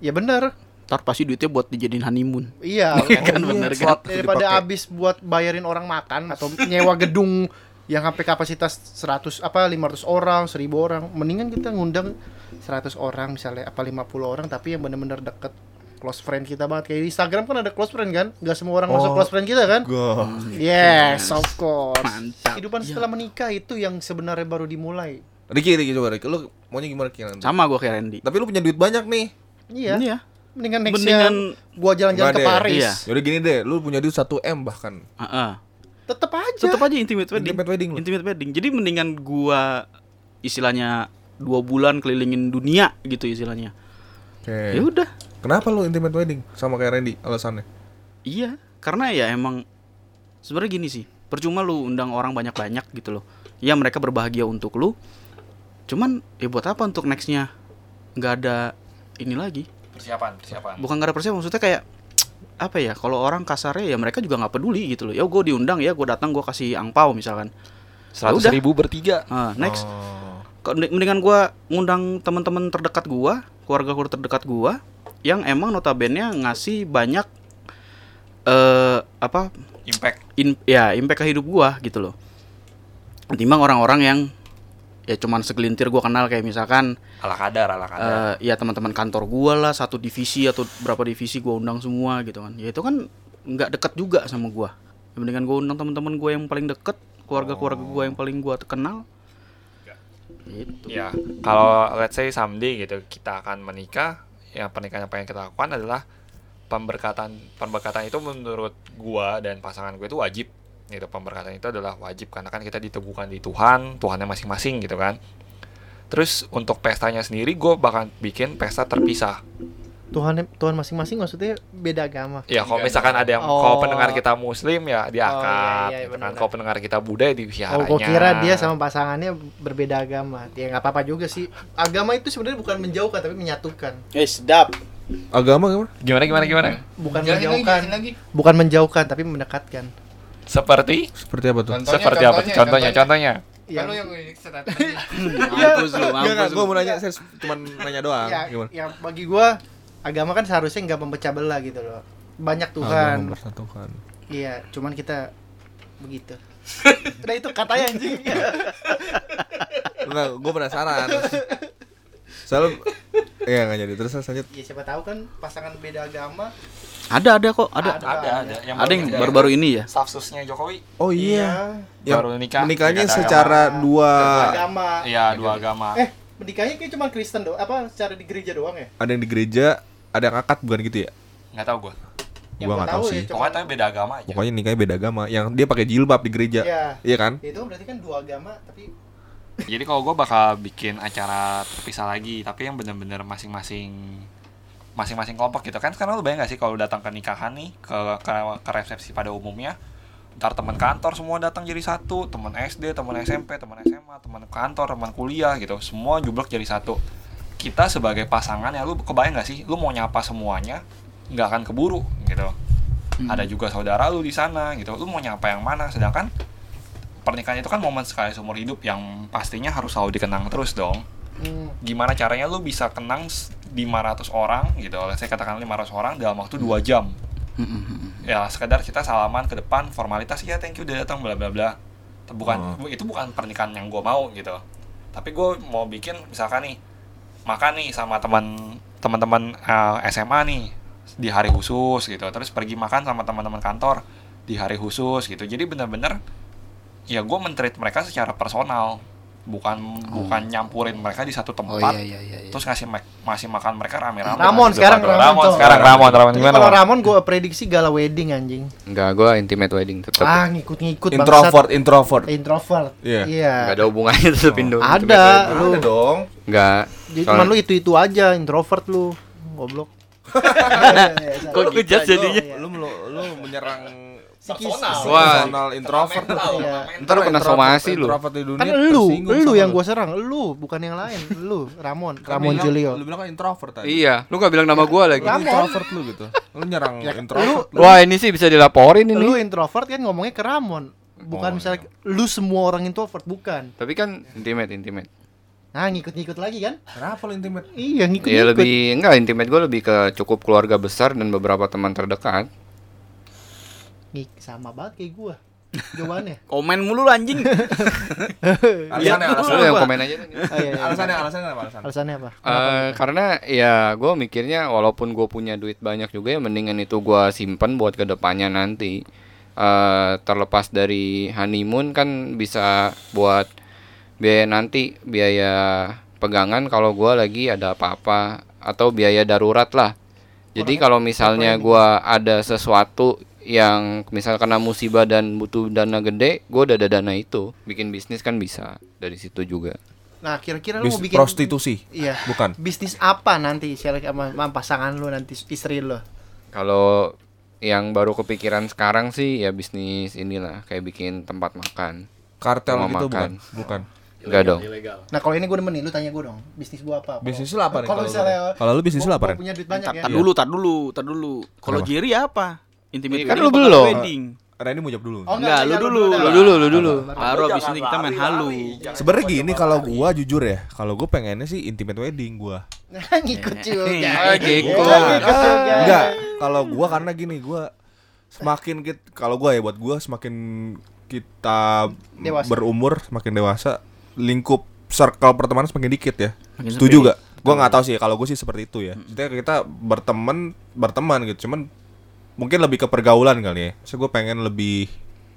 S3: Ya bener.
S2: Ntar pasti duitnya buat dijadiin honeymoon.
S3: Iya.
S2: kan bener kan?
S1: slot itu
S3: Daripada
S1: dipakai.
S3: habis buat bayarin orang makan atau nyewa gedung yang sampai kapasitas 100 apa 500 orang, 1000 orang, mendingan kita ngundang 100 orang misalnya apa 50 orang tapi yang bener-bener deket close friend kita banget kayak di Instagram kan ada close friend kan nggak semua orang
S1: Oh.
S3: masuk close friend kita kan
S1: Gua.
S3: yes of course
S2: Mantap.
S3: kehidupan setelah menikah itu yang sebenarnya baru dimulai
S1: Riki, Riki coba Riki. Lu maunya gimana Ki nanti?
S2: Sama gua kayak Randy.
S1: Tapi lu punya duit banyak nih.
S3: iya
S2: Iya.
S3: mendingan next
S2: Mendingan-
S3: gua jalan-jalan
S1: Nggak
S3: ke
S1: deh.
S3: Paris
S2: Iya.
S1: Yaudah gini deh, lu punya duit 1 M bahkan.
S2: Heeh.
S3: tetep aja
S2: Tetep aja intimate wedding.
S1: Intimate wedding lu.
S2: Intimate wedding. Jadi mendingan gua istilahnya dua bulan kelilingin dunia gitu istilahnya. Ya
S1: Oke.
S2: udah.
S1: Kenapa lu intimate wedding sama kayak Randy alasannya?
S2: Iya, karena ya emang sebenarnya gini sih. Percuma lu undang orang banyak-banyak gitu loh. Ya mereka berbahagia untuk lu. Cuman ya buat apa untuk nextnya nggak ada ini lagi.
S4: Persiapan, persiapan.
S2: Bukan nggak ada persiapan maksudnya kayak apa ya? Kalau orang kasarnya ya mereka juga nggak peduli gitu loh. Ya gue diundang ya gue datang gue kasih angpau misalkan.
S4: Seratus
S2: udah.
S4: ribu bertiga.
S2: Ah, next
S1: Oh.
S2: Kok mending- mendingan gua ngundang teman-teman terdekat gua, keluarga keluarga terdekat gua yang emang notabene ngasih banyak eh apa
S4: Impact.
S2: in, ya impact ke hidup gua gitu loh. Ketimbang orang-orang yang ya cuman segelintir gua kenal kayak misalkan
S4: Ala kadar, ala kadar.
S2: eh, ya teman-teman kantor gua lah satu divisi atau berapa divisi gua undang semua gitu kan. Ya itu kan nggak dekat juga sama gua. Ya, Mendingan gua undang teman-teman gua yang paling deket, keluarga-keluarga gua yang paling gua kenal. Gitu.
S4: Ya, kalau let's say someday gitu kita akan menikah, ya pernikahan yang pengen kita lakukan adalah pemberkatan. Pemberkatan itu menurut gua dan pasangan gue itu wajib. Gitu, pemberkatan itu adalah wajib karena kan kita diteguhkan di Tuhan, Tuhannya masing-masing gitu kan. Terus untuk pestanya sendiri gue bakal bikin pesta terpisah.
S3: Tuhan Tuhan masing-masing maksudnya beda agama.
S4: Ya kalau misalkan ada yang
S3: Oh.
S4: kalau pendengar kita muslim ya di
S3: iya,
S4: akad,
S3: iya,
S4: gitu kan.
S3: benar.
S4: Kalau pendengar kita Buddha ya di
S3: Oh,
S4: wiharanya.
S3: gua kira dia sama pasangannya berbeda agama. Ya nggak apa-apa juga sih. Agama itu sebenarnya bukan menjauhkan tapi menyatukan.
S2: Eh, sedap.
S1: Agama gimana?
S4: gimana gimana gimana?
S3: Bukan
S5: Jelasin lagi,
S3: menjauhkan,
S5: jelasin lagi.
S3: bukan menjauhkan tapi mendekatkan.
S4: Seperti
S1: Seperti apa tuh?
S5: Contohnya,
S4: seperti apa? tuh? Contohnya, contohnya.
S5: Kan lu
S3: Yang
S5: yang serat tadi.
S2: Mampus lu,
S1: Enggak, enggak,
S2: mampus
S1: gua
S2: lu.
S1: mau nanya, saya cuma nanya doang.
S3: ya,
S1: Gimana?
S3: ya, bagi gua agama kan seharusnya nggak memecah belah gitu loh. Banyak Tuhan.
S1: Agama bersatukan.
S3: Iya, cuman kita begitu. Udah itu katanya anjing.
S1: Enggak, gua penasaran. Soalnya Iya enggak jadi. Terus lanjut.
S3: ya siapa tahu kan pasangan beda agama.
S2: Ada ada kok, ada.
S3: Ada, ada.
S2: Yang Ada yang baru-baru ini ya?
S4: staff susnya Jokowi
S1: Oh iya. Ah. Ya,
S4: baru nikah.
S1: Menikahnya
S4: Nikah
S1: secara
S3: agama.
S1: dua
S3: agama.
S4: agama. Iya, dua agama.
S3: Eh, menikahnya kayak cuma Kristen doang, apa secara di gereja doang ya?
S1: ada yang di gereja, ada yang akad bukan gitu ya?
S4: Enggak tahu gua.
S3: Yang
S1: Gua
S3: gua
S1: enggak tahu
S3: tahu ya,
S1: sih.
S3: Cok.
S4: Pokoknya tapi beda agama aja.
S1: Ya. Pokoknya nikahnya beda agama. Yang dia pakai jilbab di gereja.
S3: Iya.
S1: Iya kan?
S3: Ya, itu berarti kan dua agama tapi
S4: Jadi kalau gua bakal bikin acara terpisah lagi, tapi yang bener-bener masing-masing masing-masing kelompok gitu kan sekarang lu bayang gak sih kalau datang ke nikahan nih ke, ke ke resepsi pada umumnya ntar teman kantor semua datang jadi satu teman SD teman SMP teman SMA teman kantor teman kuliah gitu semua jublek jadi satu kita sebagai pasangan ya lu kebayang gak sih lu mau nyapa semuanya nggak akan keburu gitu
S2: Hmm.
S4: ada juga saudara lu di sana gitu lu mau nyapa yang mana sedangkan pernikahan itu kan momen sekali seumur hidup yang pastinya harus selalu dikenang terus dong
S3: hmm,
S4: gimana caranya lu bisa kenang s- 500 orang gitu let's say katakan 500 orang dalam waktu 2 jam
S2: Mm-mm, mm-mm.
S4: ya sekedar kita salaman ke depan formalitas ya thank you udah datang bla bla bla bukan itu bukan pernikahan yang gue mau gitu tapi gue mau bikin misalkan nih makan nih sama teman teman-teman eh, SMA nih di hari khusus gitu terus pergi makan sama teman-teman kantor di hari khusus gitu jadi bener-bener ya gue mentreat mereka secara personal bukan bukan nyampurin mereka di satu
S2: Oh
S4: tempat
S2: iya iya iya. iya.
S4: terus ngasih mak- masih makan mereka rame-rame
S3: Ramon
S4: Gitu,
S3: sekarang,
S4: aduh,
S3: Ramon,
S4: Ramon
S3: Cok.
S4: sekarang Ramon Ramon
S3: Tapi
S4: gimana
S3: kalau
S4: Ramon?
S3: Ramon gue prediksi gala wedding anjing.
S5: Enggak, gue intimate wedding tetap.
S3: Ah ngikut-ngikut bangsat.
S1: introvert introvert
S3: Introvert.
S1: Iya.
S3: Iya.
S5: Enggak ada hubungannya tetap Indo.
S3: Ada lu.
S1: ada dong
S5: Enggak.
S3: Jadi cuman lu itu-itu aja introvert lu. Goblok.
S1: Iya,
S5: Kok
S1: Lu gitu
S5: ngejudge
S1: kita-
S5: jadinya?
S1: lu lu, lu menyerang
S3: Iya, Personal.
S1: personal introvert
S3: Iya.
S5: Ntar lu kena
S1: Introvert-
S5: somasi lu.
S1: introvert di dunia
S3: Kan lu,
S1: tersinggung
S3: lu
S1: sama
S3: yang gua serang, lu bukan yang lain, lu Ramon,
S1: Kan
S3: Ramon
S1: bilang-
S3: Julio. Iya.
S1: lu bilang kan introvert tadi
S5: Iya, lu gak bilang nama gue lagi.
S1: Lu introvert lu gitu lu nyerang introvert lu.
S5: Wah, ini sih bisa dilaporin
S3: Lu
S5: ini.
S3: introvert kan ngomongnya ke Ramon, bukan
S1: Oh,
S3: misalnya lu semua orang introvert, bukan.
S5: Tapi kan intimate, intimate.
S3: Nah, ngikut-ngikut lagi kan?
S1: kenapa lu intimate
S3: Iya, ngikut-ngikut.
S5: Iya lebih enggak intimate gue lebih ke cukup keluarga besar dan beberapa teman terdekat.
S3: Ngik sama banget kayak gua. Jawabannya.
S2: Komen mulu lu anjing.
S1: alasannya
S5: Lu
S1: alasannya
S5: yang komen aja nih.
S3: Ah, iya, iya.
S1: alasannya alasannya apa alasannya
S3: Alasannya apa?
S5: Eh, karena ya gue mikirnya walaupun gue punya duit banyak juga ya mendingan itu gue simpen buat kedepannya nanti Eh, terlepas dari honeymoon kan bisa buat biaya nanti biaya pegangan kalau gue lagi ada apa-apa atau biaya darurat lah jadi kalau misalnya gue ada sesuatu yang misal kena musibah dan butuh dana gede gue udah ada dana itu bikin bisnis kan bisa dari situ juga
S3: Nah, kira-kira lu
S1: Bis-
S3: mau bikin
S1: prostitusi
S3: Iya.
S1: bukan
S3: Bisnis apa nanti share sama, sama pasangan lu nanti istri lu?
S5: Kalau yang baru kepikiran sekarang sih ya bisnis inilah kayak bikin tempat makan.
S1: kartel
S5: Rumah
S1: gitu bukan
S5: makan.
S1: bukan
S5: Enggak dong.
S3: Nah, kalau ini gue nemenin lu tanya gue dong, bisnis gua apa?
S1: bisnis lu apa nih
S3: Kalau misalnya
S1: kalau lu bisnis lu
S3: gua-
S1: apa
S3: gua
S1: Ren?
S3: punya duit banyak
S5: Iya.
S3: ya.
S2: Tar dulu, tar dulu, tar dulu. Kalau
S1: Kenapa?
S2: Jerry apa? Intimate
S5: Kan
S2: wedding
S5: lu
S2: apa
S5: belum.
S2: wedding?
S1: Reni mau jawab dulu
S3: Oh,
S2: Enggak, lu
S3: tanya
S2: dulu,
S3: dah.
S5: Lu dulu, lu dulu.
S2: Baru abis ini kita main halu.
S1: Sebenernya gini kalau gua jujur ya, kalau gua pengennya sih intimate wedding gua.
S3: Nah, ngikut juga.
S2: Eh,
S5: gitu.
S3: Eh, ngikut juga.
S1: iya, Enggak, kalau gua karena gini gua semakin kit kalau gua ya buat gua semakin kita
S3: Dewasa.
S1: berumur semakin dewasa lingkup circle pertemanan semakin dikit ya.
S2: Makin
S1: Setuju
S2: sepi.
S1: gak? Gua nggak tahu sih kalau gua sih seperti itu ya. Maksudnya kita berteman berteman gitu, cuman mungkin lebih ke pergaulan kali ya. So gua pengen lebih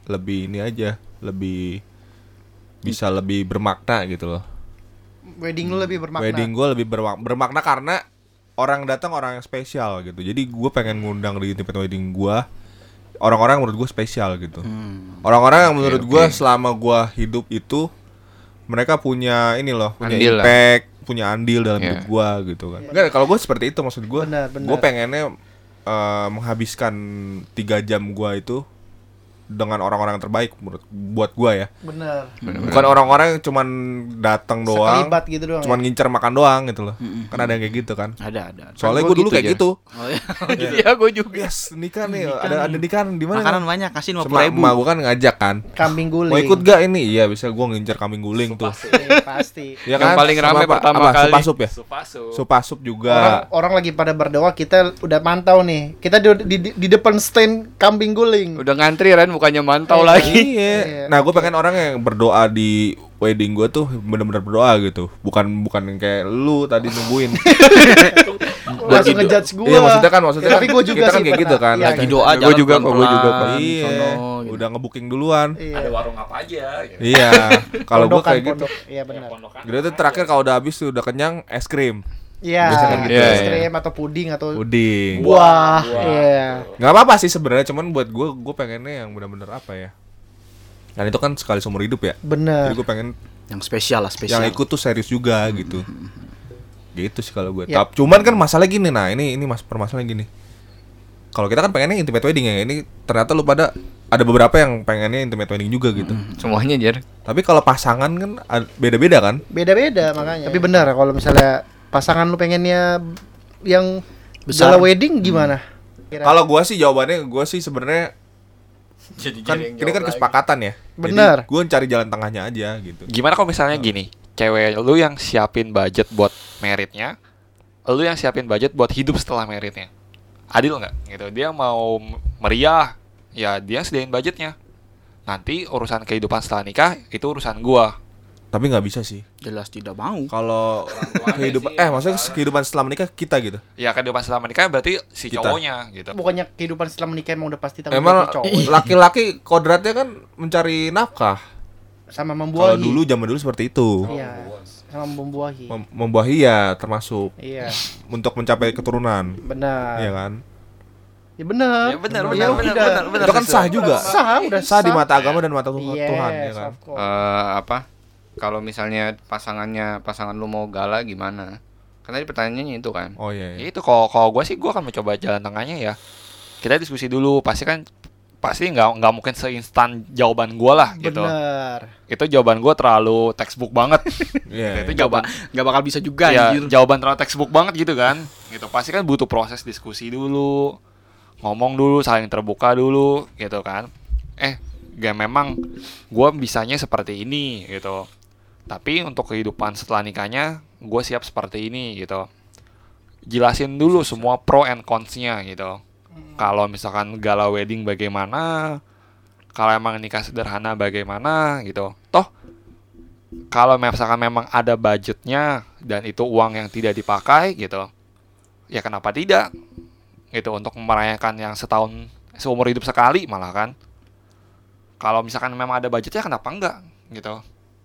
S1: lebih ini aja, lebih bisa lebih bermakna gitu loh.
S3: Wedding lu lebih bermakna.
S1: Wedding gue lebih bermak- bermakna karena orang datang orang yang spesial gitu. Jadi gue pengen ngundang di intimate wedding gue orang-orang yang menurut gue spesial gitu.
S3: Hmm.
S1: Orang-orang yang menurut gue selama gue hidup itu mereka punya ini loh, punya
S5: Andil lah.
S1: impact, punya andil dalam
S5: Iya.
S1: hidup gue gitu kan. Enggak, kalau gue seperti itu maksud gue.
S3: Iya. Benar, benar.
S1: Gue pengennya eh, menghabiskan tiga jam gue itu dengan orang-orang yang terbaik menurut buat gue ya.
S3: Bener.
S1: Bukan orang-orang yang cuman datang doang
S3: Sekelibat gitu doang.
S1: cuman
S3: ya?
S1: ngincer makan doang gitu loh. Kan ada yang kayak gitu kan.
S2: Ada, ada. ada.
S1: Soalnya
S5: gua
S1: gue dulu
S5: gitu,
S1: kayak
S5: Jan.
S1: gitu.
S2: Oh, iya.
S5: Iya, gue juga.
S1: Yes, nikah nih. ada ada nikahan di mana?
S2: Makanan banyak, kasih
S1: Sama
S2: 50 ribu.
S1: emak gua kan ngajak kan.
S3: kambing guling.
S1: Mau ikut gak ini? Iya, bisa gua ngincer kambing guling tuh.
S3: Iya, pasti.
S1: Ya
S5: Yang paling
S1: Sama
S5: rame
S1: apa-
S5: pertama
S1: apa?
S5: kali.
S1: Supasup ya?
S4: Supasu.
S1: Supasup
S3: Orang,
S1: juga.
S3: orang lagi pada berdoa, kita udah mantau nih. Kita di, di, di depan stand kambing guling.
S5: Udah ngantri Ren bukannya mantau lagi.
S1: Iya. Nah, gue pengen orang yang berdoa di wedding gue tuh bener-bener berdoa gitu. Bukan bukan yang kayak lu tadi nungguin.
S3: Langsung ngejudge gue.
S1: Iya, maksudnya kan maksudnya
S3: Tapi
S1: kan
S3: gua juga
S1: kita kan
S3: sih
S1: kayak gitu
S3: pernah.
S1: kan.
S3: Iya,
S2: Lagi doa
S5: Gua
S2: jalan
S5: juga kok, gua juga
S2: pelan-pelan, sono,
S1: Iya.
S2: gitu.
S1: Udah ngebooking duluan.
S3: Iya.
S4: Ada warung apa aja gitu.
S1: Iya. Kalau gue
S3: Pondokan,
S1: kayak gitu.
S3: pondok. Iya benar.
S4: Pondokan.
S1: Gitu tuh terakhir kalau udah habis tuh udah kenyang es krim.
S3: Iya.
S1: Biasanya
S5: gitu. Iya,
S3: es krim atau puding atau
S1: Uding.
S3: buah. Iya.
S1: nggak apa-apa sih sebenarnya cuman buat gue gue pengennya yang benar-benar apa ya dan itu kan sekali seumur hidup ya jadi
S3: Bener.
S1: gue pengen
S2: Yang spesial lah, spesial.
S1: yang ikut tuh serius juga gitu gitu sih kalau gue
S3: Ya.
S1: Tap- cuman kan masalah gini nah ini ini mas permasalahan gini kalau kita kan pengennya intimate wedding ya ini ternyata lu pada ada beberapa yang pengennya intimate wedding juga gitu
S5: Semuanya Jer.
S1: tapi kalau pasangan kan ad- beda-beda kan
S3: Beda-beda makanya. Tapi benar kalau misalnya pasangan lu pengennya yang
S2: Besar.
S3: besar wedding gimana?
S1: Hmm.
S3: Kira-
S1: kalau gue sih jawabannya gue sih sebenarnya
S4: Jadi
S1: kan ini kan kesepakatan ya
S3: Bener.
S1: gue cari jalan tengahnya aja gitu
S4: Gimana kalau misalnya gini, cewek lu yang siapin budget buat meritnya, lu yang siapin budget buat hidup setelah meritnya. adil nggak gitu dia mau m- meriah ya dia sediain budgetnya nanti urusan kehidupan setelah nikah itu urusan gua
S1: Tapi nggak bisa sih.
S2: jelas tidak mau
S1: Kalau kehidupan eh maksudnya kehidupan setelah menikah kita gitu.
S4: ya kehidupan setelah menikah berarti si
S1: Kita.
S4: cowoknya gitu
S3: bukannya kehidupan setelah menikah emang udah pasti tanggung
S1: Emang
S3: jawab cowok
S1: laki-laki kodratnya kan mencari nafkah.
S3: sama
S1: Kalau
S3: membuahi
S1: dulu zaman dulu seperti itu.
S4: Oh.
S3: iya sama membuahi
S1: Mem membuahi ya termasuk
S3: iya
S1: untuk mencapai keturunan, ya
S4: Iya.
S3: benar
S1: kan?
S3: ya benar
S4: Ya benar,
S3: Ya
S4: benar, benar,
S3: udah.
S4: benar, benar.
S1: itu kan sah juga.
S3: sah Iya, udah
S1: Iya, Sah di mata agama dan mata Tuhan,
S3: Yes,
S1: Tuhan, ya kan?
S3: of course.
S5: Eh, apa kalau misalnya pasangannya pasangan lu mau gala gimana kan tadi pertanyaannya itu kan
S1: Oh iya. iya.
S4: Ya itu kalau kalau gue sih gue akan mencoba jalan tengahnya ya kita diskusi dulu pasti kan pasti nggak nggak mungkin seinstan jawaban gue lah gitu
S3: benar
S4: itu jawaban gue terlalu textbook banget
S1: Iya,
S4: itu
S1: iya.
S4: jawaban
S2: nggak bakal bisa juga
S5: Iya,
S4: ya,
S2: anjir.
S4: jawaban terlalu textbook banget gitu kan gitu pasti kan butuh proses diskusi dulu ngomong dulu saling terbuka dulu gitu kan eh gak memang gue bisanya seperti ini gitu tapi untuk kehidupan setelah nikahnya gue siap seperti ini gitu jelasin dulu semua pro and cons-nya gitu
S2: Hmm.
S4: kalau misalkan gala wedding bagaimana kalau emang nikah sederhana bagaimana gitu toh kalau misalkan memang ada budgetnya dan itu uang yang tidak dipakai gitu ya kenapa tidak gitu untuk merayakan yang setahun seumur hidup sekali malah kan kalau misalkan memang ada budgetnya kenapa enggak gitu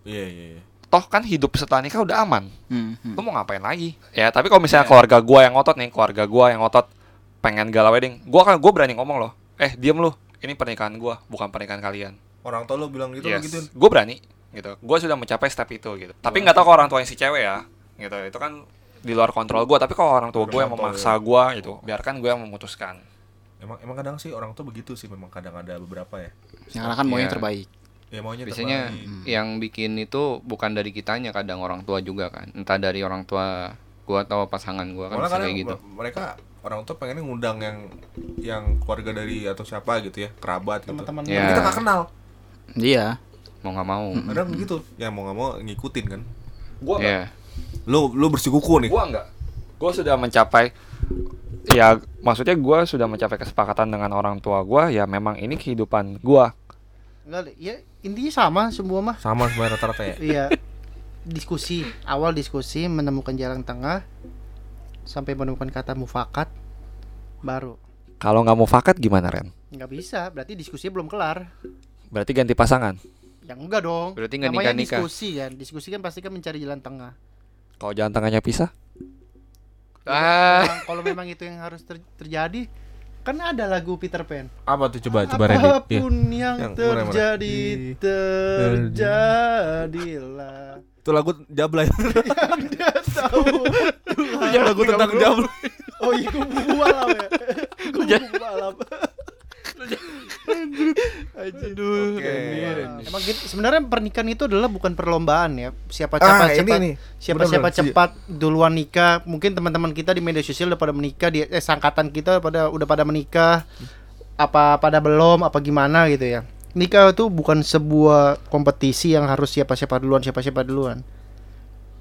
S1: Iya, iya, iya.
S4: toh kan hidup setelah nikah udah aman
S2: Hmm, hmm.
S4: lu mau ngapain lagi ya tapi kalau misalnya keluarga gua yang ngotot nih keluarga gua yang ngotot pengen gala wedding gua kan gua berani ngomong loh eh diem lu ini pernikahan gua bukan pernikahan kalian
S1: Orang tua lu bilang gitu lo gituin.
S4: Gue berani gitu. Gue sudah mencapai step itu gitu. Tapi nggak tahu kalau orang tuanya si cewek ya. Gitu. Itu kan di luar kontrol gue. Tapi kalau orang tua gue yang
S1: Kontrol,
S4: memaksa gue gitu, biarkan gue yang memutuskan.
S1: Emang emang kadang sih orang tuh begitu sih memang kadang ada beberapa ya.
S2: yang kan mau yang
S5: Iya.
S2: terbaik
S1: Ya maunya
S5: biasanya
S1: terbaik.
S5: yang bikin itu bukan dari kitanya kadang orang tua juga kan entah dari orang tua gua atau pasangan gua kan
S1: Malah
S5: bisa
S1: kadang
S5: kayak gitu
S1: me- mereka orang tua pengennya ngundang yang yang keluarga dari atau siapa gitu ya, kerabat gitu.
S3: teman-teman
S5: Iya.
S1: Tapi Kita nggak kenal.
S2: iya
S5: mau nggak mau
S1: Kadang gitu. Ya mau nggak mau ngikutin kan.
S4: Gue
S5: ya
S1: Lu lu bersikuku nih.
S4: Gue enggak. Gue sudah mencapai ya maksudnya gue sudah mencapai kesepakatan dengan orang tua gue ya memang ini kehidupan gue
S3: Enggak, ya intinya sama semua mah
S1: Sama sebenarnya rata-rata ya.
S3: iya diskusi awal diskusi menemukan jalan tengah sampai menemukan kata mufakat baru
S4: kalau nggak mau fakat gimana Ren
S3: nggak bisa berarti diskusinya belum kelar
S4: berarti ganti pasangan
S3: yang enggak dong
S5: Berarti nggak
S3: namanya
S5: nikah-nikah.
S3: diskusi kan diskusi kan pasti kan mencari jalan tengah
S4: kalau jalan tangannya pisah
S5: ah
S3: Kalau- kalau memang itu yang harus ter- terjadi kan ada lagu Peter Pan
S1: Apa tuh coba Iya.
S3: apapun yang,
S1: Yang mulai-mulai.
S3: terjadi
S1: Di-
S3: terjadilah
S1: Itu lagu Jabla ya.
S3: yang dia tahu Tuhan.
S1: lagu tentang Jabla.
S3: oh iya kubu alam ya kubu alam
S1: Aduh.
S3: Emang gitu, sebenarnya pernikahan itu adalah bukan perlombaan ya. Siapa
S1: Ah,
S3: cepat
S1: ini
S3: cepat
S1: nih.
S3: siapa
S1: Bener-bener.
S3: siapa cepat duluan nikah. Mungkin teman-teman kita di media sosial udah pada menikah, di eh, sangkatan kita pada udah pada menikah. Apa pada belum, apa gimana gitu ya. Nikah itu bukan sebuah kompetisi yang harus siapa-siapa duluan, siapa-siapa duluan.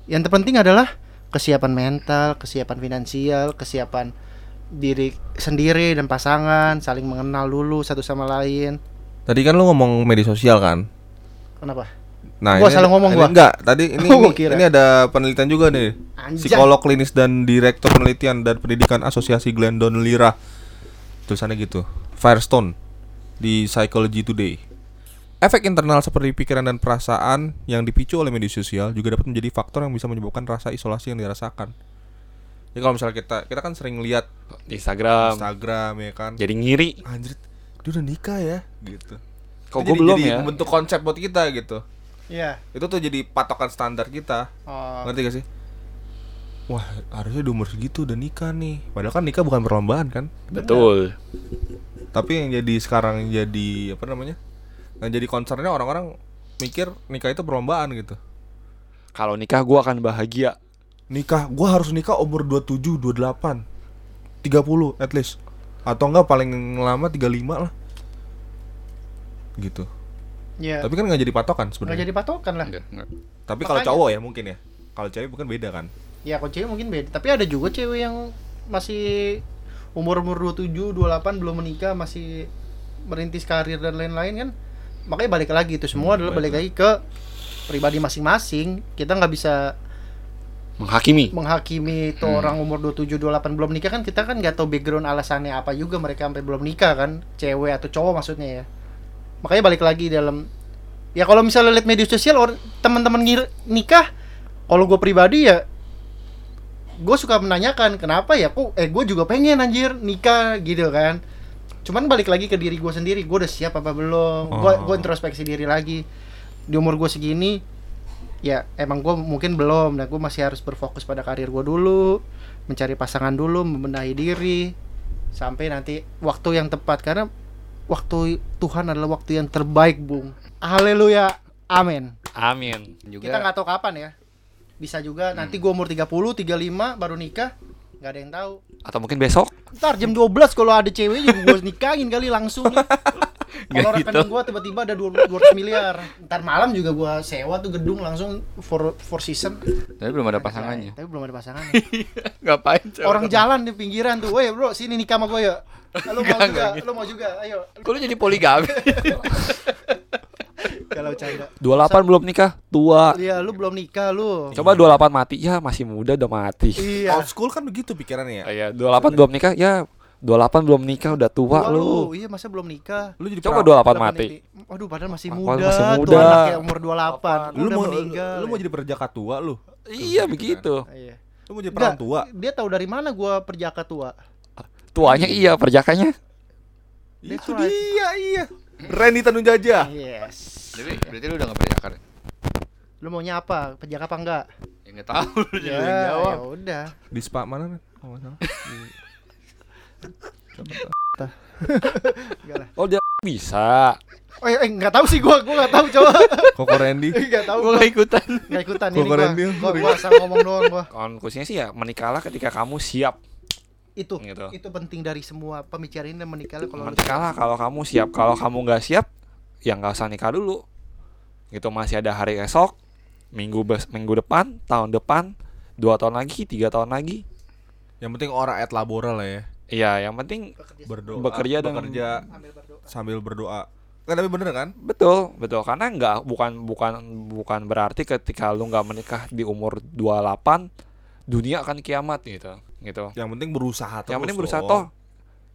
S3: Yang terpenting adalah kesiapan mental, kesiapan finansial, kesiapan diri sendiri dan pasangan, saling mengenal dulu satu sama lain.
S1: Tadi kan lu ngomong media sosial kan?
S3: Kenapa?
S1: Nah,
S3: Gua salah ngomong
S1: ini
S3: gua.
S1: Enggak, tadi ini ini-
S3: Gua kira.
S1: ini ada penelitian juga nih.
S3: Anjay.
S1: Psikolog klinis dan direktur penelitian dan pendidikan Asosiasi Glendon Lira. Tulisannya gitu. Firestone di Psychology Today. Efek internal seperti pikiran dan perasaan yang dipicu oleh media sosial juga dapat menjadi faktor yang bisa menyebabkan rasa isolasi yang dirasakan. Ya kalau misalnya kita kita kan sering lihat
S4: di Instagram
S1: Instagram ya kan.
S4: jadi ngiri
S1: Anjir, dia udah nikah ya gitu. Itu
S4: kok gue
S1: jadi-
S4: belum
S1: jadi
S4: ya
S1: Bentuk konsep buat kita gitu.
S3: Iya.
S1: Itu tuh jadi patokan standar kita.
S3: Oh,
S1: Ngerti gak sih? Wah, harusnya di umur segitu udah nikah nih. Padahal kan nikah bukan perlombaan kan.
S4: betul
S1: Tapi yang jadi sekarang yang jadi apa namanya? Yang jadi concernnya orang-orang mikir nikah itu perlombaan gitu.
S4: kalau nikah gue akan bahagia
S1: Nikah, gua harus nikah umur 27, 28, 30 at least. Atau enggak paling lama 35 lah. Gitu.
S3: iya.
S1: Tapi kan nggak jadi patokan
S3: nggak
S1: sebenarnya.
S3: jadi patokan lah.
S5: Enggak, enggak.
S1: Tapi kalau
S3: Makanya.
S1: cowok ya mungkin ya. Kalau cewek bukan beda kan.
S3: Ya kalau cewek mungkin beda, tapi ada juga cewek yang masih umur-umur 27, 28 belum menikah masih merintis karir dan lain-lain kan. Makanya balik lagi itu semua adalah balik lagi ke pribadi masing-masing. Kita nggak bisa
S5: menghakimi
S3: menghakimi itu
S5: Hmm.
S3: orang umur 27 28 belum nikah kan kita kan nggak tahu background alasannya apa juga mereka sampai belum nikah kan cewek atau cowok maksudnya ya makanya balik lagi dalam ya kalau misalnya lihat media sosial or- teman-teman ngir- nikah kalau gue pribadi ya gue suka menanyakan kenapa ya kok eh gue juga pengen anjir nikah gitu kan cuman balik lagi ke diri gue sendiri gue udah siap apa belum gue
S1: Oh.
S3: gue introspeksi diri lagi di umur gue segini ya emang gue mungkin belum dan gue masih harus berfokus pada karir gue dulu mencari pasangan dulu membenahi diri sampai nanti waktu yang tepat karena waktu Tuhan adalah waktu yang terbaik bung haleluya amin
S5: amin juga Hmm.
S3: kita nggak tahu kapan ya bisa juga nanti gue umur 30 35 baru nikah nggak ada yang tahu
S4: Atau mungkin besok?
S3: ntar jam 12 kalau ada cewek juga gue nikahin kali langsung nih. kalau
S5: Nggak gitu.
S3: rekening gue tiba-tiba ada 200 200 miliar ntar malam juga gue sewa tuh gedung langsung for for season
S5: tapi belum ada pasangannya
S3: tapi belum ada pasangannya
S5: Iya, ngapain cewek?
S3: orang jalan di pinggiran tuh weh bro sini nikah sama gue ya lo mau juga lo
S5: gitu.
S3: mau juga ayo
S5: kok lu jadi poligami
S3: kalau canda
S4: 28 belum nikah? Tua.
S3: iya lu belum nikah lu
S4: Coba 28 mati, ya masih muda udah mati.
S3: iya
S1: Old school kan begitu pikirannya ya.
S5: iya
S4: 28 belum nikah, ya 28 belum nikah udah tua
S3: Tua
S4: lu.
S3: iya masa belum nikah
S1: Lu jadi
S4: Coba
S1: perawan.
S4: 28
S3: Belum
S4: mati.
S3: meniti- Aduh padahal masih
S4: Padahal
S3: muda.
S4: masih
S3: Tuh
S4: muda.
S3: anak ya umur 28.
S1: Lu
S3: Kan udah
S1: mau
S3: meninggal. ya.
S1: lu mau jadi perjaka tua lu.
S4: Iya begitu.
S3: Iya.
S1: Lu mau jadi
S3: Enggak,
S1: perawan tua.
S3: Dia tahu dari mana gua perjaka tua.
S4: Tuanya iya, perjakanya.
S3: That's
S1: Itu
S3: right.
S1: dia iya. Randy Tanujaja.
S3: Yes.
S5: jadi berarti lu udah nggak percaya kan
S3: Lu maunya apa? Perjaka apa enggak?
S5: ya nggak tahu lu jadi yang
S3: Ya,
S5: jawab
S3: ya udah.
S1: Di spa mana? Ren? Kalau nggak salah. Di-
S3: Enggak lah.
S4: Oh dia bisa.
S3: Oh, eh, enggak tahu sih gua, gua enggak tahu coba.
S1: Koko Randy.
S3: Enggak tahu.
S5: gue nggak ikutan
S3: Enggak ikutan
S1: Gua
S3: ini gua.
S1: keren dia.
S3: Gua, gua asal ngomong doang gua.
S4: Konklusinya sih ya menikahlah ketika kamu siap
S3: Itu
S4: gitu.
S3: itu penting dari semua pembicaraan dan menikah lu kalau lu
S4: Menikahlah kalau kamu siap. Kalau kamu nggak siap, ya nggak usah nikah dulu. Gitu masih ada hari esok, minggu bes- minggu depan, tahun depan, dua tahun lagi, tiga tahun lagi.
S1: Yang penting ora et labora lah ya.
S4: Iya, yang penting
S3: bekerja
S1: Berdoa.
S4: Bekerja dengan-
S1: bekerja
S3: ambil berdoa.
S1: sambil berdoa. Kan tapi bener kan?
S4: Betul, betul. Karena nggak bukan bukan bukan berarti ketika lu nggak menikah di umur 28 dunia akan kiamat gitu. Gitu.
S1: Yang penting berusaha terus.
S4: yang penting berusaha
S1: dong.
S4: toh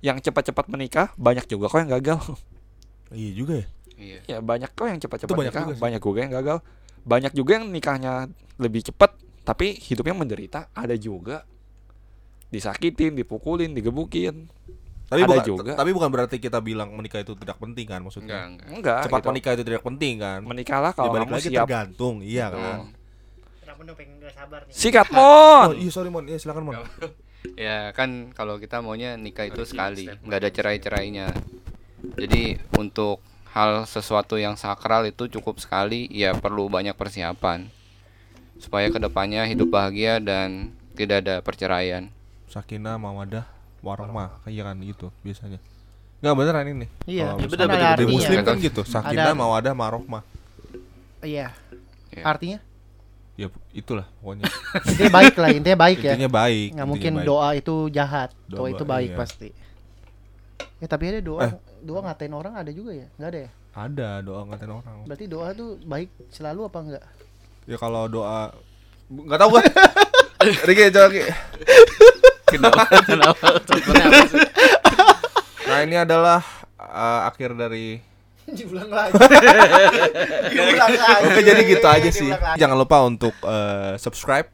S4: yang cepat-cepat menikah banyak juga kok yang gagal.
S1: Iya juga ya.
S5: iya
S4: ya banyak kok yang cepat-cepat
S1: Itu banyak
S4: nikah,
S1: juga sih.
S4: banyak juga yang gagal. Banyak juga yang nikahnya lebih cepat tapi hidupnya menderita, ada juga disakitin, dipukulin, digebukin.
S1: Tapi
S4: Ada
S1: bukan,
S4: juga.
S1: tapi bukan berarti kita bilang menikah itu tidak penting kan
S5: enggak
S1: maksudnya.
S5: enggak
S4: Enggak.
S1: Cepat
S4: gitu.
S1: menikah itu tidak penting kan.
S4: Menikahlah
S1: Ya
S4: kalau
S1: balik
S4: kamu
S1: lagi
S4: siap. Gitu.
S1: tergantung, iya kan.
S3: Kenapa lu pengen enggak sabar nih?
S4: Sikat
S1: Oh,
S4: mon.
S1: iya sorry Mon, iya silakan Mon.
S5: Ya kan kalau kita maunya nikah itu sekali, nggak ada cerai-cerainya. Jadi untuk hal sesuatu yang sakral itu cukup sekali, ya perlu banyak persiapan supaya kedepannya hidup bahagia dan tidak ada perceraian.
S1: Sakinah, Mawadah, Warma, kayak kan gitu biasanya. Enggak beneran ini.
S4: Oh,
S3: Iya,
S1: Kalau
S3: iya,
S1: misalnya
S3: bener,
S1: di-
S3: ada
S1: di
S3: artinya.
S1: muslim kan gitu, Sakinah,
S3: Ada-
S1: Mawadah, Marohmah.
S3: Iya.
S5: Iya.
S3: Artinya
S1: Ya itulah pokoknya.
S3: intinya baik lah, intinya baik ya.
S1: Intinya baik.
S3: nggak
S1: intinya
S3: mungkin
S1: baik.
S3: doa itu jahat
S1: Doa,
S3: doa, itu baik
S1: iya.
S3: pasti ya tapi ada doa
S1: Eh.
S3: doa ngatain orang ada juga ya nggak ada ya
S1: Ada doa ngatain orang.
S3: berarti doa tuh baik selalu apa enggak
S1: Ya kalau doa Enggak tahu gua. Riki coba Ki.
S5: Kenapa? Kenapa? Contohnya apa sih?
S1: Nah, ini adalah eh, akhir dari
S3: diulang lagi diulang lagi
S1: Oke, jadi gitu aja sih. Jangan lupa untuk eh, subscribe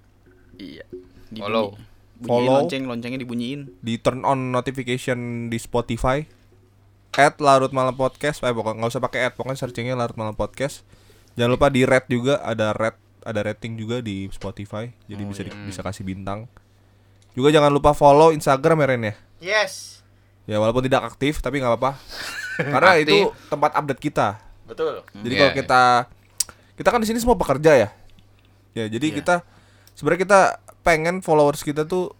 S2: Iya.
S5: Follow.
S2: Bunyiin
S1: Follow.
S2: lonceng, loncengnya dibunyiin.
S1: di turn on notification di Spotify at larut malam podcast eh pokoknya nggak usah pakai at pokoknya searchingnya larut malam podcast jangan lupa di rate juga ada rate ada rating juga di Spotify jadi bisa di- bisa kasih bintang juga jangan lupa follow Instagram ya Ren ya
S3: yes
S1: ya walaupun tidak aktif tapi nggak apa-apa karena
S5: Aktif.
S1: itu tempat update kita
S4: Betul.
S1: jadi
S5: Iya,
S1: kalau
S5: iya.
S1: kita kita kan di sini semua pekerja ya. Ya, jadi kita sebenarnya kita pengen followers kita tuh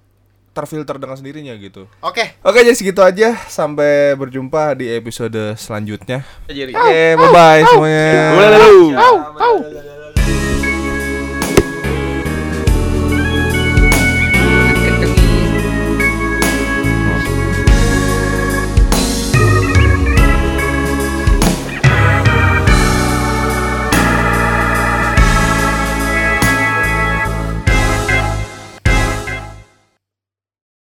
S1: terfilter dengan sendirinya gitu.
S3: oke
S1: Oke, jadi segitu aja. Sampai berjumpa di episode selanjutnya.
S5: Iya,
S2: Jerry.
S1: Oke, bye-bye semuanya.
S4: Boleh lalu.
S1: Dadah, dadah, dadah.